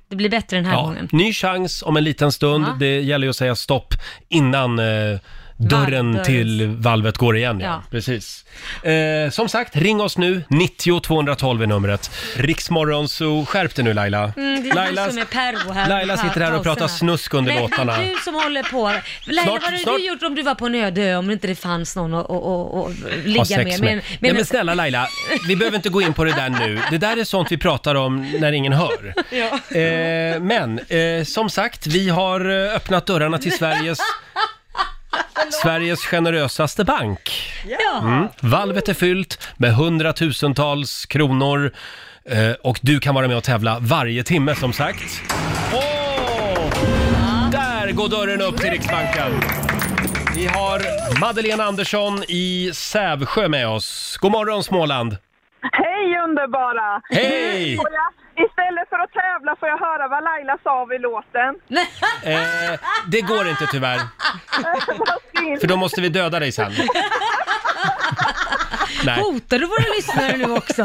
Speaker 2: det blir bättre den här
Speaker 1: Ja,
Speaker 2: gången.
Speaker 1: ny chans om en liten stund.
Speaker 2: Ja.
Speaker 1: Det gäller ju att säga stopp innan eh, dörren
Speaker 2: Valvdörren.
Speaker 1: till valvet går igen. Ja.
Speaker 2: Ja.
Speaker 1: Precis. Eh, som sagt, ring oss nu. 90 212 är numret. Riksmorgon, så skärp dig nu Laila.
Speaker 2: Mm, det är
Speaker 1: Laila,
Speaker 2: du som är pervo här.
Speaker 1: Laila sitter här och pratar
Speaker 2: Pauserna.
Speaker 1: snusk under
Speaker 2: Nej,
Speaker 1: låtarna.
Speaker 2: Men du som håller på. Laila,
Speaker 1: Snart-
Speaker 2: vad hade
Speaker 1: snart-
Speaker 2: du gjort om du var på en öde ö, om inte det fanns någon att att- att- att ligga
Speaker 1: Ha sex med.
Speaker 2: med?
Speaker 1: Nej, men snälla Laila, vi behöver inte gå in på det där nu. Det där är sånt vi pratar om när ingen hör.
Speaker 2: Ja.
Speaker 1: Eh, men eh, som sagt, vi har eh, öppnat dörrarna till Sveriges, Sveriges generösaste bank.
Speaker 2: Ja.
Speaker 1: Mm. Valvet är fyllt med hundratusentals kronor eh, och du kan vara med och tävla varje timme som sagt. Åh! Där går dörren upp till Riksbanken. Vi har Madeleine Andersson i Sävsjö med oss. God morgon Småland!
Speaker 14: Hej underbara!
Speaker 1: Hej!
Speaker 14: Får jag- Istället för att tävla får jag höra vad Laila sa vid låten.
Speaker 1: Eh, det går inte tyvärr,
Speaker 14: Vad synd.
Speaker 1: för då måste vi döda dig sen. Nej.
Speaker 2: Hotar du våra lyssnare nu också?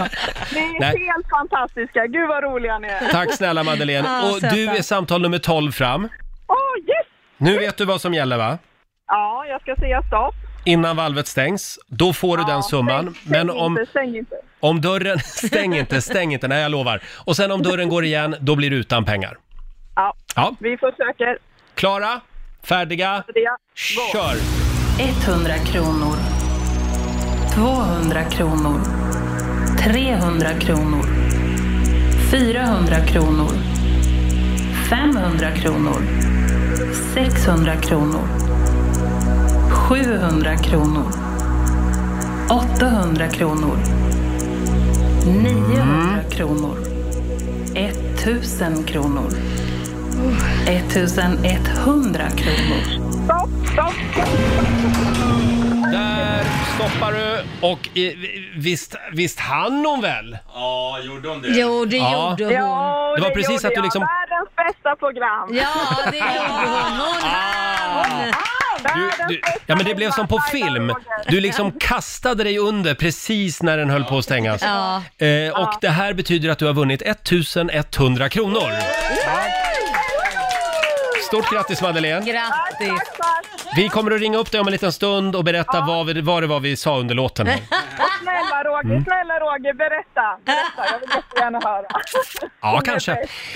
Speaker 14: Ni är
Speaker 1: Nej.
Speaker 14: helt fantastiska. Gud vad roliga ni är.
Speaker 1: Tack snälla Madeleine.
Speaker 14: Ah,
Speaker 1: Och du
Speaker 14: söta.
Speaker 1: är samtal nummer 12 fram.
Speaker 14: Åh, yes!
Speaker 1: Nu vet du vad som gäller va?
Speaker 14: Ja, jag ska säga stopp.
Speaker 1: Innan valvet stängs, då får du den summan. Men
Speaker 14: Stäng
Speaker 1: om,
Speaker 14: inte, stäng inte.
Speaker 1: om dörren... Stäng inte, stäng inte, nej jag lovar. Och sen om dörren går igen, då blir du utan pengar.
Speaker 14: Ja,
Speaker 1: Ja,
Speaker 14: vi försöker.
Speaker 1: klara, färdiga,
Speaker 14: Färdiga,
Speaker 1: kör!
Speaker 8: 100 kronor. 200 kronor. 300 kronor. 400 kronor. 500 kronor. 600 kronor. 700 kronor. 800 kronor. 900 kronor. 1000 kronor. 1100 kronor.
Speaker 14: Stopp, stopp, stopp.
Speaker 1: Där Kopparö och eh, visst, visst hann hon väl?
Speaker 4: Ja, gjorde hon det?
Speaker 2: Jo, det
Speaker 1: Ja.
Speaker 2: gjorde hon.
Speaker 1: Det var precis att du liksom...
Speaker 14: Världens bästa program!
Speaker 2: Ja, det gjorde hon. Hon
Speaker 1: Ah.
Speaker 14: vann!
Speaker 10: Ah,
Speaker 1: Du, du, ja men det blev som på film. Du liksom kastade dig under precis när den höll på att stängas.
Speaker 2: Ja.
Speaker 1: Eh, och det här betyder att du har vunnit 1100 kronor. Stort grattis Madeleine!
Speaker 2: Grattis!
Speaker 1: Vi kommer att ringa upp dig om en liten stund och berätta vad, vi, vad det var vi sa under låten. här.
Speaker 14: Och snälla Roger,
Speaker 1: Mm.
Speaker 14: snälla Roger, berätta! Berätta, jag vill jättegärna höra.
Speaker 1: Ja, kanske.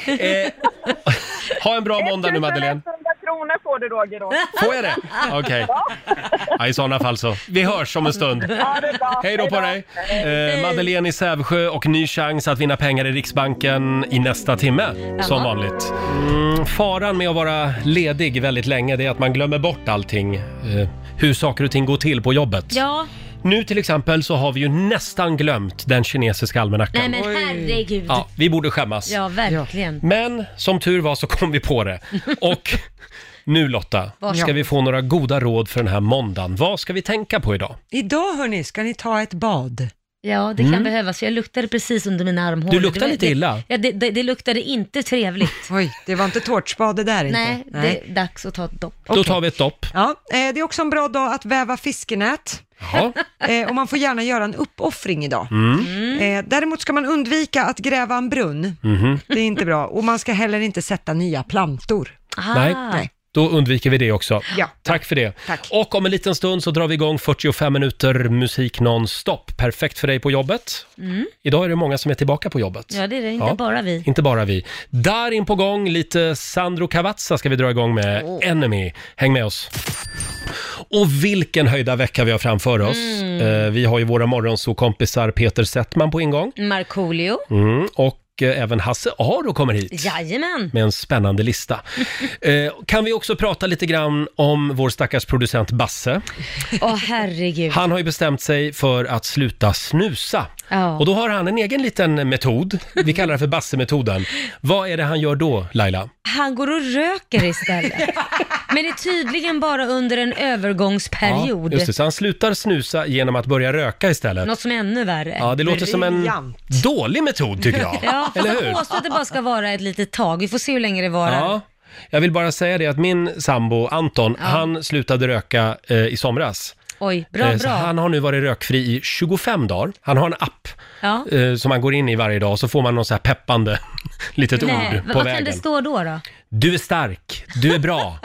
Speaker 1: Eh, ha en bra måndag nu Madeleine.
Speaker 14: 100 kronor får du Roger då.
Speaker 1: Får jag det? Okej. Ja, I sådana fall så. Vi hörs om en stund.
Speaker 14: Ja, det är bra.
Speaker 1: Hej då på dig! Eh, Madeleine i Sävsjö och ny chans att vinna pengar i Riksbanken i nästa timme, som vanligt. Mm, faran med att vara ledig väldigt länge det är att man glömmer bort allting, eh, hur saker och ting går till på jobbet.
Speaker 2: Ja,
Speaker 1: Nu till exempel så har vi ju nästan glömt den kinesiska almanackan.
Speaker 2: nej men herregud.
Speaker 1: Ja, vi borde skämmas.
Speaker 2: Ja, verkligen.
Speaker 1: Men som tur var så kom vi på det. Och nu Lotta, ska
Speaker 3: Varsågod.
Speaker 1: vi få några goda råd för den här måndagen. Vad ska vi tänka på idag?
Speaker 3: Idag hörni, ska ni ta ett bad?
Speaker 2: Ja, det
Speaker 1: Mm.
Speaker 2: kan behövas. Jag luktade precis under mina armhålor.
Speaker 1: Du luktar
Speaker 2: Det var-
Speaker 1: lite illa.
Speaker 2: Det, ja, det, det, det luktade inte trevligt.
Speaker 3: Oj, det var inte tårtspade där inte.
Speaker 2: Nej,
Speaker 3: Nej.
Speaker 2: det är dags att ta ett dopp.
Speaker 1: Då tar vi ett dopp.
Speaker 3: Ja, eh, det är också en bra dag att väva fiskenät.
Speaker 1: Ja.
Speaker 3: Eh, och man får gärna göra en uppoffring idag.
Speaker 1: Mm.
Speaker 3: Eh, däremot ska man undvika att gräva en brunn.
Speaker 1: Mhm.
Speaker 3: Det är inte bra. Och man ska heller inte sätta nya plantor.
Speaker 1: Nej. Då undviker vi det också.
Speaker 3: Ja.
Speaker 1: Tack för det. Och om en liten stund så drar vi igång 45 minuter musik nonstop. Perfekt för dig på jobbet.
Speaker 2: Mm.
Speaker 1: Idag är det många som är tillbaka på jobbet.
Speaker 2: Ja, det är det. Inte
Speaker 1: Ja.
Speaker 2: bara vi.
Speaker 1: Inte bara vi. Där in på gång, lite Sandro Cavazza ska vi dra igång med. Enemy. Häng med oss. Och vilken höjda vecka vi har framför oss.
Speaker 2: Mm.
Speaker 1: Eh, vi har ju våra morgonsokompisar Peter Settman på ingång.
Speaker 2: Markoolio.
Speaker 1: Mm. Och eh, även Hasse Aro kommer hit
Speaker 2: Jajamän.
Speaker 1: med en spännande lista. Eh, kan vi också prata lite grann om vår stackars producent Basse?
Speaker 2: Åh herregud.
Speaker 1: Han har ju bestämt sig för att sluta snusa.
Speaker 2: Ja.
Speaker 1: Och då har han en egen liten metod. Vi kallar det för Basse-metoden. Vad är det han gör då, Laila?
Speaker 2: Han går och röker istället. Men det är tydligen bara under en övergångsperiod.
Speaker 1: just det, så han slutar snusa genom att börja röka istället.
Speaker 2: Något som är ännu värre.
Speaker 1: Ja, det låter som en dålig metod tycker jag.
Speaker 2: Ja,
Speaker 1: Eller
Speaker 2: fast de
Speaker 1: hur?
Speaker 2: påstår att det bara ska vara ett litet tag. Vi får se hur länge det varar.
Speaker 1: Ja. Jag vill bara säga det att min sambo Anton, han slutade röka eh, i somras.
Speaker 2: Oj, bra,
Speaker 1: Eh, Så
Speaker 2: bra.
Speaker 1: han har nu varit rökfri i 25 dagar. Han har en app
Speaker 2: Ja.
Speaker 1: eh, som man går in i varje dag och så får man någon så här peppande litet
Speaker 2: Nej,
Speaker 1: ord
Speaker 2: vad
Speaker 1: på
Speaker 2: vad
Speaker 1: vägen.
Speaker 2: kan det stå då? då?
Speaker 1: Du är stark, du är bra.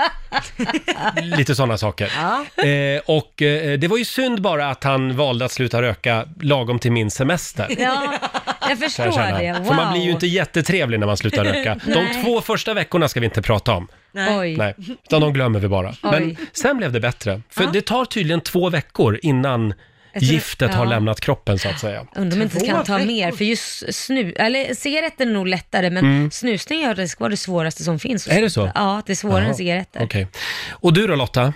Speaker 1: Lite sådana saker.
Speaker 2: Ja.
Speaker 1: Eh, och eh, det var ju synd bara att han valde att sluta röka lagom till min semester.
Speaker 2: Ja, jag
Speaker 1: kan
Speaker 2: förstår
Speaker 1: jag känna.
Speaker 2: det. Wow.
Speaker 1: För man blir ju inte jättetrevlig när man slutar röka. De
Speaker 2: Nej.
Speaker 1: två första veckorna ska vi inte prata om.
Speaker 2: Oj.
Speaker 1: Nej, utan de glömmer vi bara.
Speaker 2: Oj.
Speaker 1: Men sen blev det bättre. För det tar tydligen två veckor innan
Speaker 2: Ett-
Speaker 1: giftet har
Speaker 2: ja.
Speaker 1: lämnat kroppen så att säga.
Speaker 2: Undrar om inte
Speaker 3: Två
Speaker 2: kan ta
Speaker 3: veckor.
Speaker 2: mer, för just snu, eller cigaretter är nog lättare, men
Speaker 1: Mm.
Speaker 2: snusning gör det ska vara det svåraste som finns.
Speaker 1: Är det så?
Speaker 2: Ja, det är svårare
Speaker 1: Jaha,
Speaker 2: än cigaretter.
Speaker 1: Okej. Och du då Lotta?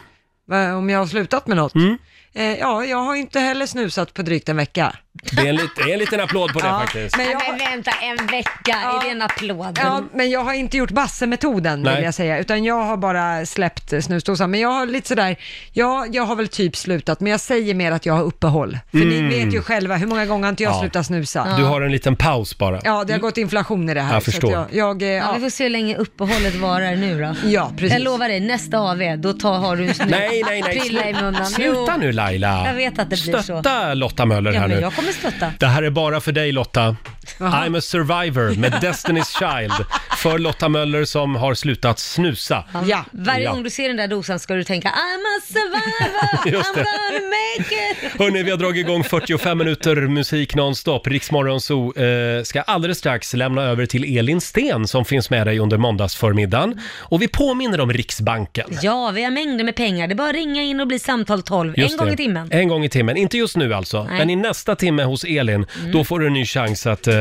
Speaker 3: Va, Om jag har slutat med något?
Speaker 1: Mm.
Speaker 3: Eh, ja, jag har inte heller snusat på drygt en vecka.
Speaker 1: Det är en, lit, det är en liten applåd på det
Speaker 3: Ja,
Speaker 1: faktiskt.
Speaker 2: Men, vänta, en vecka, är det en applåd?
Speaker 3: Ja, men jag har inte gjort Basse-metoden
Speaker 1: Nej.
Speaker 3: vill jag säga, utan jag har bara släppt snusdosan. Men jag har lite sådär, ja, jag har väl typ slutat, men jag säger mer att jag har uppehåll. För
Speaker 1: Mm.
Speaker 3: ni vet ju själva hur många gånger har inte jag
Speaker 1: Ja.
Speaker 3: slutat snusa.
Speaker 1: Du har en liten paus bara.
Speaker 3: Ja, det har gått inflation i det här.
Speaker 1: Jag
Speaker 3: så att
Speaker 1: förstår.
Speaker 3: Jag, jag, eh,
Speaker 2: Ja,
Speaker 3: ja.
Speaker 2: vi får se hur länge uppehållet varar nu då.
Speaker 3: Ja, precis.
Speaker 2: Jag lovar dig, nästa AV, då tar, har du en snus.
Speaker 1: Nej, nej, nej.
Speaker 2: Prilla i munnen.
Speaker 1: Sluta
Speaker 2: Jo,
Speaker 1: nu Laila.
Speaker 2: Jag vet att det blir
Speaker 1: Stötta
Speaker 2: så.
Speaker 1: Lotta Möller
Speaker 2: Ja,
Speaker 1: här
Speaker 2: men
Speaker 1: nu.
Speaker 2: jag kommer stötta.
Speaker 1: Det här är bara för dig Lotta.
Speaker 2: Jaha.
Speaker 1: I'm a survivor med Destiny's Child. För Lotta Möller som har slutat snusa.
Speaker 2: Ja. Varje
Speaker 1: Ja.
Speaker 2: gång du ser den där dosan ska du tänka I'm a survivor,
Speaker 1: Just
Speaker 2: I'm
Speaker 1: det.
Speaker 2: gonna make it.
Speaker 1: Hörni, vi har dragit igång 45 minuter musik nonstop. Riksmorgon Zoo eh, ska alldeles strax lämna över till Elin Sten som finns med dig under måndagsförmiddagen. Och vi påminner om Riksbanken.
Speaker 2: Ja, vi har mängder med pengar. Det är bara att ringa in och bli samtal 12 en
Speaker 1: Just
Speaker 2: gång
Speaker 1: det.
Speaker 2: i timmen.
Speaker 1: En gång i timmen. Inte just nu alltså,
Speaker 2: Nej. Mm.
Speaker 1: men i nästa timme hos Elin, då får du en ny chans att eh,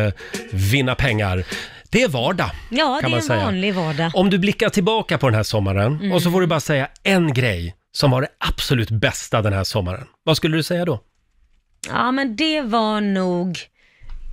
Speaker 1: vinna pengar. Det är vardag,
Speaker 2: Ja,
Speaker 1: kan
Speaker 2: det
Speaker 1: man
Speaker 2: är en
Speaker 1: säga.
Speaker 2: vanlig vardag.
Speaker 1: Om du blickar tillbaka på den här sommaren
Speaker 2: Mm.
Speaker 1: och så får du bara säga en grej som var det absolut bästa den här sommaren. Vad skulle du säga då?
Speaker 2: Ja, men det var nog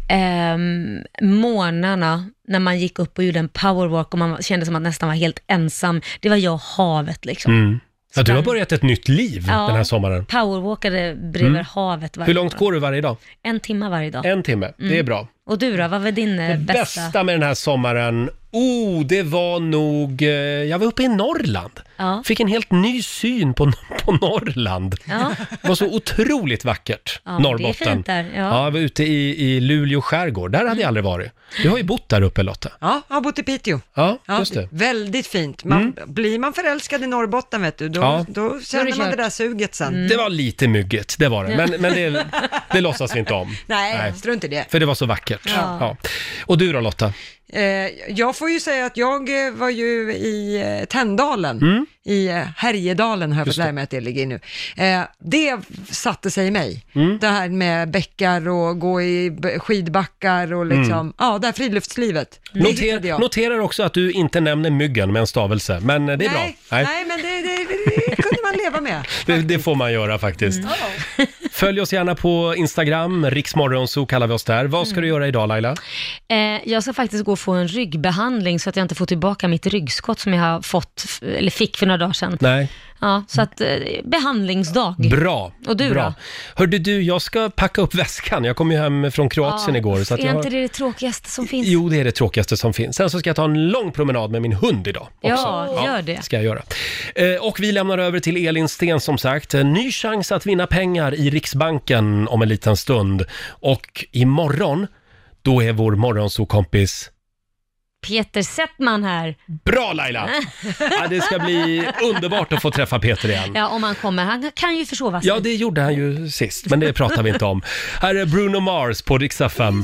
Speaker 2: ehm, månaderna när man gick upp och gjorde en powerwalk och man kände som att man nästan var helt ensam. Det var jag och havet liksom.
Speaker 1: Mm. Ja, du har börjat ett nytt liv
Speaker 2: Ja.
Speaker 1: den här sommaren.
Speaker 2: Powerwalkade bredvid
Speaker 1: Mm.
Speaker 2: havet varje
Speaker 1: Hur långt
Speaker 2: morgon.
Speaker 1: går du varje dag?
Speaker 2: En timme varje dag.
Speaker 1: En timme, det är
Speaker 2: Mm.
Speaker 1: bra.
Speaker 2: Och du då, vad var din eh,
Speaker 1: Det
Speaker 2: bästa?
Speaker 1: bästa med den här sommaren, oh, det var nog, eh, jag var uppe i Norrland. Fick en helt ny syn på, på Norrland.
Speaker 2: Ja.
Speaker 1: Det var så otroligt vackert,
Speaker 2: Ja, men det är
Speaker 1: Norrbotten.
Speaker 2: fint där, ja.
Speaker 1: jag var ute i, i Luleå skärgård, där hade jag aldrig varit. Du har ju bott där uppe Lotta.
Speaker 3: Ja, jag har bott i Piteå.
Speaker 1: Ja,
Speaker 3: Ja,
Speaker 1: just det.
Speaker 3: Väldigt fint. Man,
Speaker 1: Mm.
Speaker 3: Blir man förälskad i Norrbotten, vet du, då,
Speaker 1: Ja.
Speaker 3: då känner
Speaker 2: kört.
Speaker 3: man det där suget sen.
Speaker 1: Det var lite myggigt, det var det. Men, men det, det låtsas vi inte om.
Speaker 3: Nej, strunt i det.
Speaker 1: För det var så vackert. Ja.
Speaker 3: Ja.
Speaker 1: Och du då Lotta?
Speaker 3: Eh, jag får ju säga att jag eh, var ju i eh, Tänndalen,
Speaker 1: Mm.
Speaker 3: i eh, Härjedalen har jag fått lära mig att det ligger i nu. Eh, det satte sig i mig,
Speaker 1: Mm.
Speaker 3: det här med bäckar och gå i b- skidbackar och liksom,
Speaker 1: Mm.
Speaker 3: ja, det här friluftslivet. Det hittade
Speaker 1: Noter,
Speaker 3: jag.
Speaker 1: noterar också att du inte nämner myggen med en stavelse, men eh, det är bra.
Speaker 3: nej, nej, men det, det, det kunde man leva med.
Speaker 1: Det, det får man göra faktiskt.
Speaker 2: Mm. Oh.
Speaker 1: Följ oss gärna på Instagram, riksmorgonso kallar vi oss där. Vad ska du
Speaker 2: Mm.
Speaker 1: göra idag Laila?
Speaker 2: Eh, jag ska faktiskt gå och få en ryggbehandling så att jag inte får tillbaka mitt ryggskott som jag har fått, f- eller fick för några dagar sedan.
Speaker 1: Nej.
Speaker 2: Ja, så att eh, behandlingsdag.
Speaker 1: Bra.
Speaker 2: Och du
Speaker 1: Bra.
Speaker 2: då?
Speaker 1: Hörde du, jag ska packa upp väskan. Jag kom ju hem från Kroatien
Speaker 2: Ja,
Speaker 1: igår. Så att
Speaker 2: är
Speaker 1: jag har...
Speaker 2: inte det det tråkigaste som finns?
Speaker 1: Jo, det är det tråkigaste som finns. Sen så ska jag ta en lång promenad med min hund idag. Också.
Speaker 2: Ja, gör det.
Speaker 1: Ska jag göra. Eh, Och vi lämnar över till Elin Sten som sagt. En ny chans att vinna pengar i Riksbanken om en liten stund. Och imorgon, då är vår morgonsokompis
Speaker 2: Peter Settman här.
Speaker 1: Bra Laila! Ja, det ska bli underbart att få träffa Peter igen.
Speaker 2: Ja, om han kommer. Han kan ju försova sig.
Speaker 1: Ja, det gjorde han ju sist, men det pratar vi inte om. Här är Bruno Mars på Riksa 5.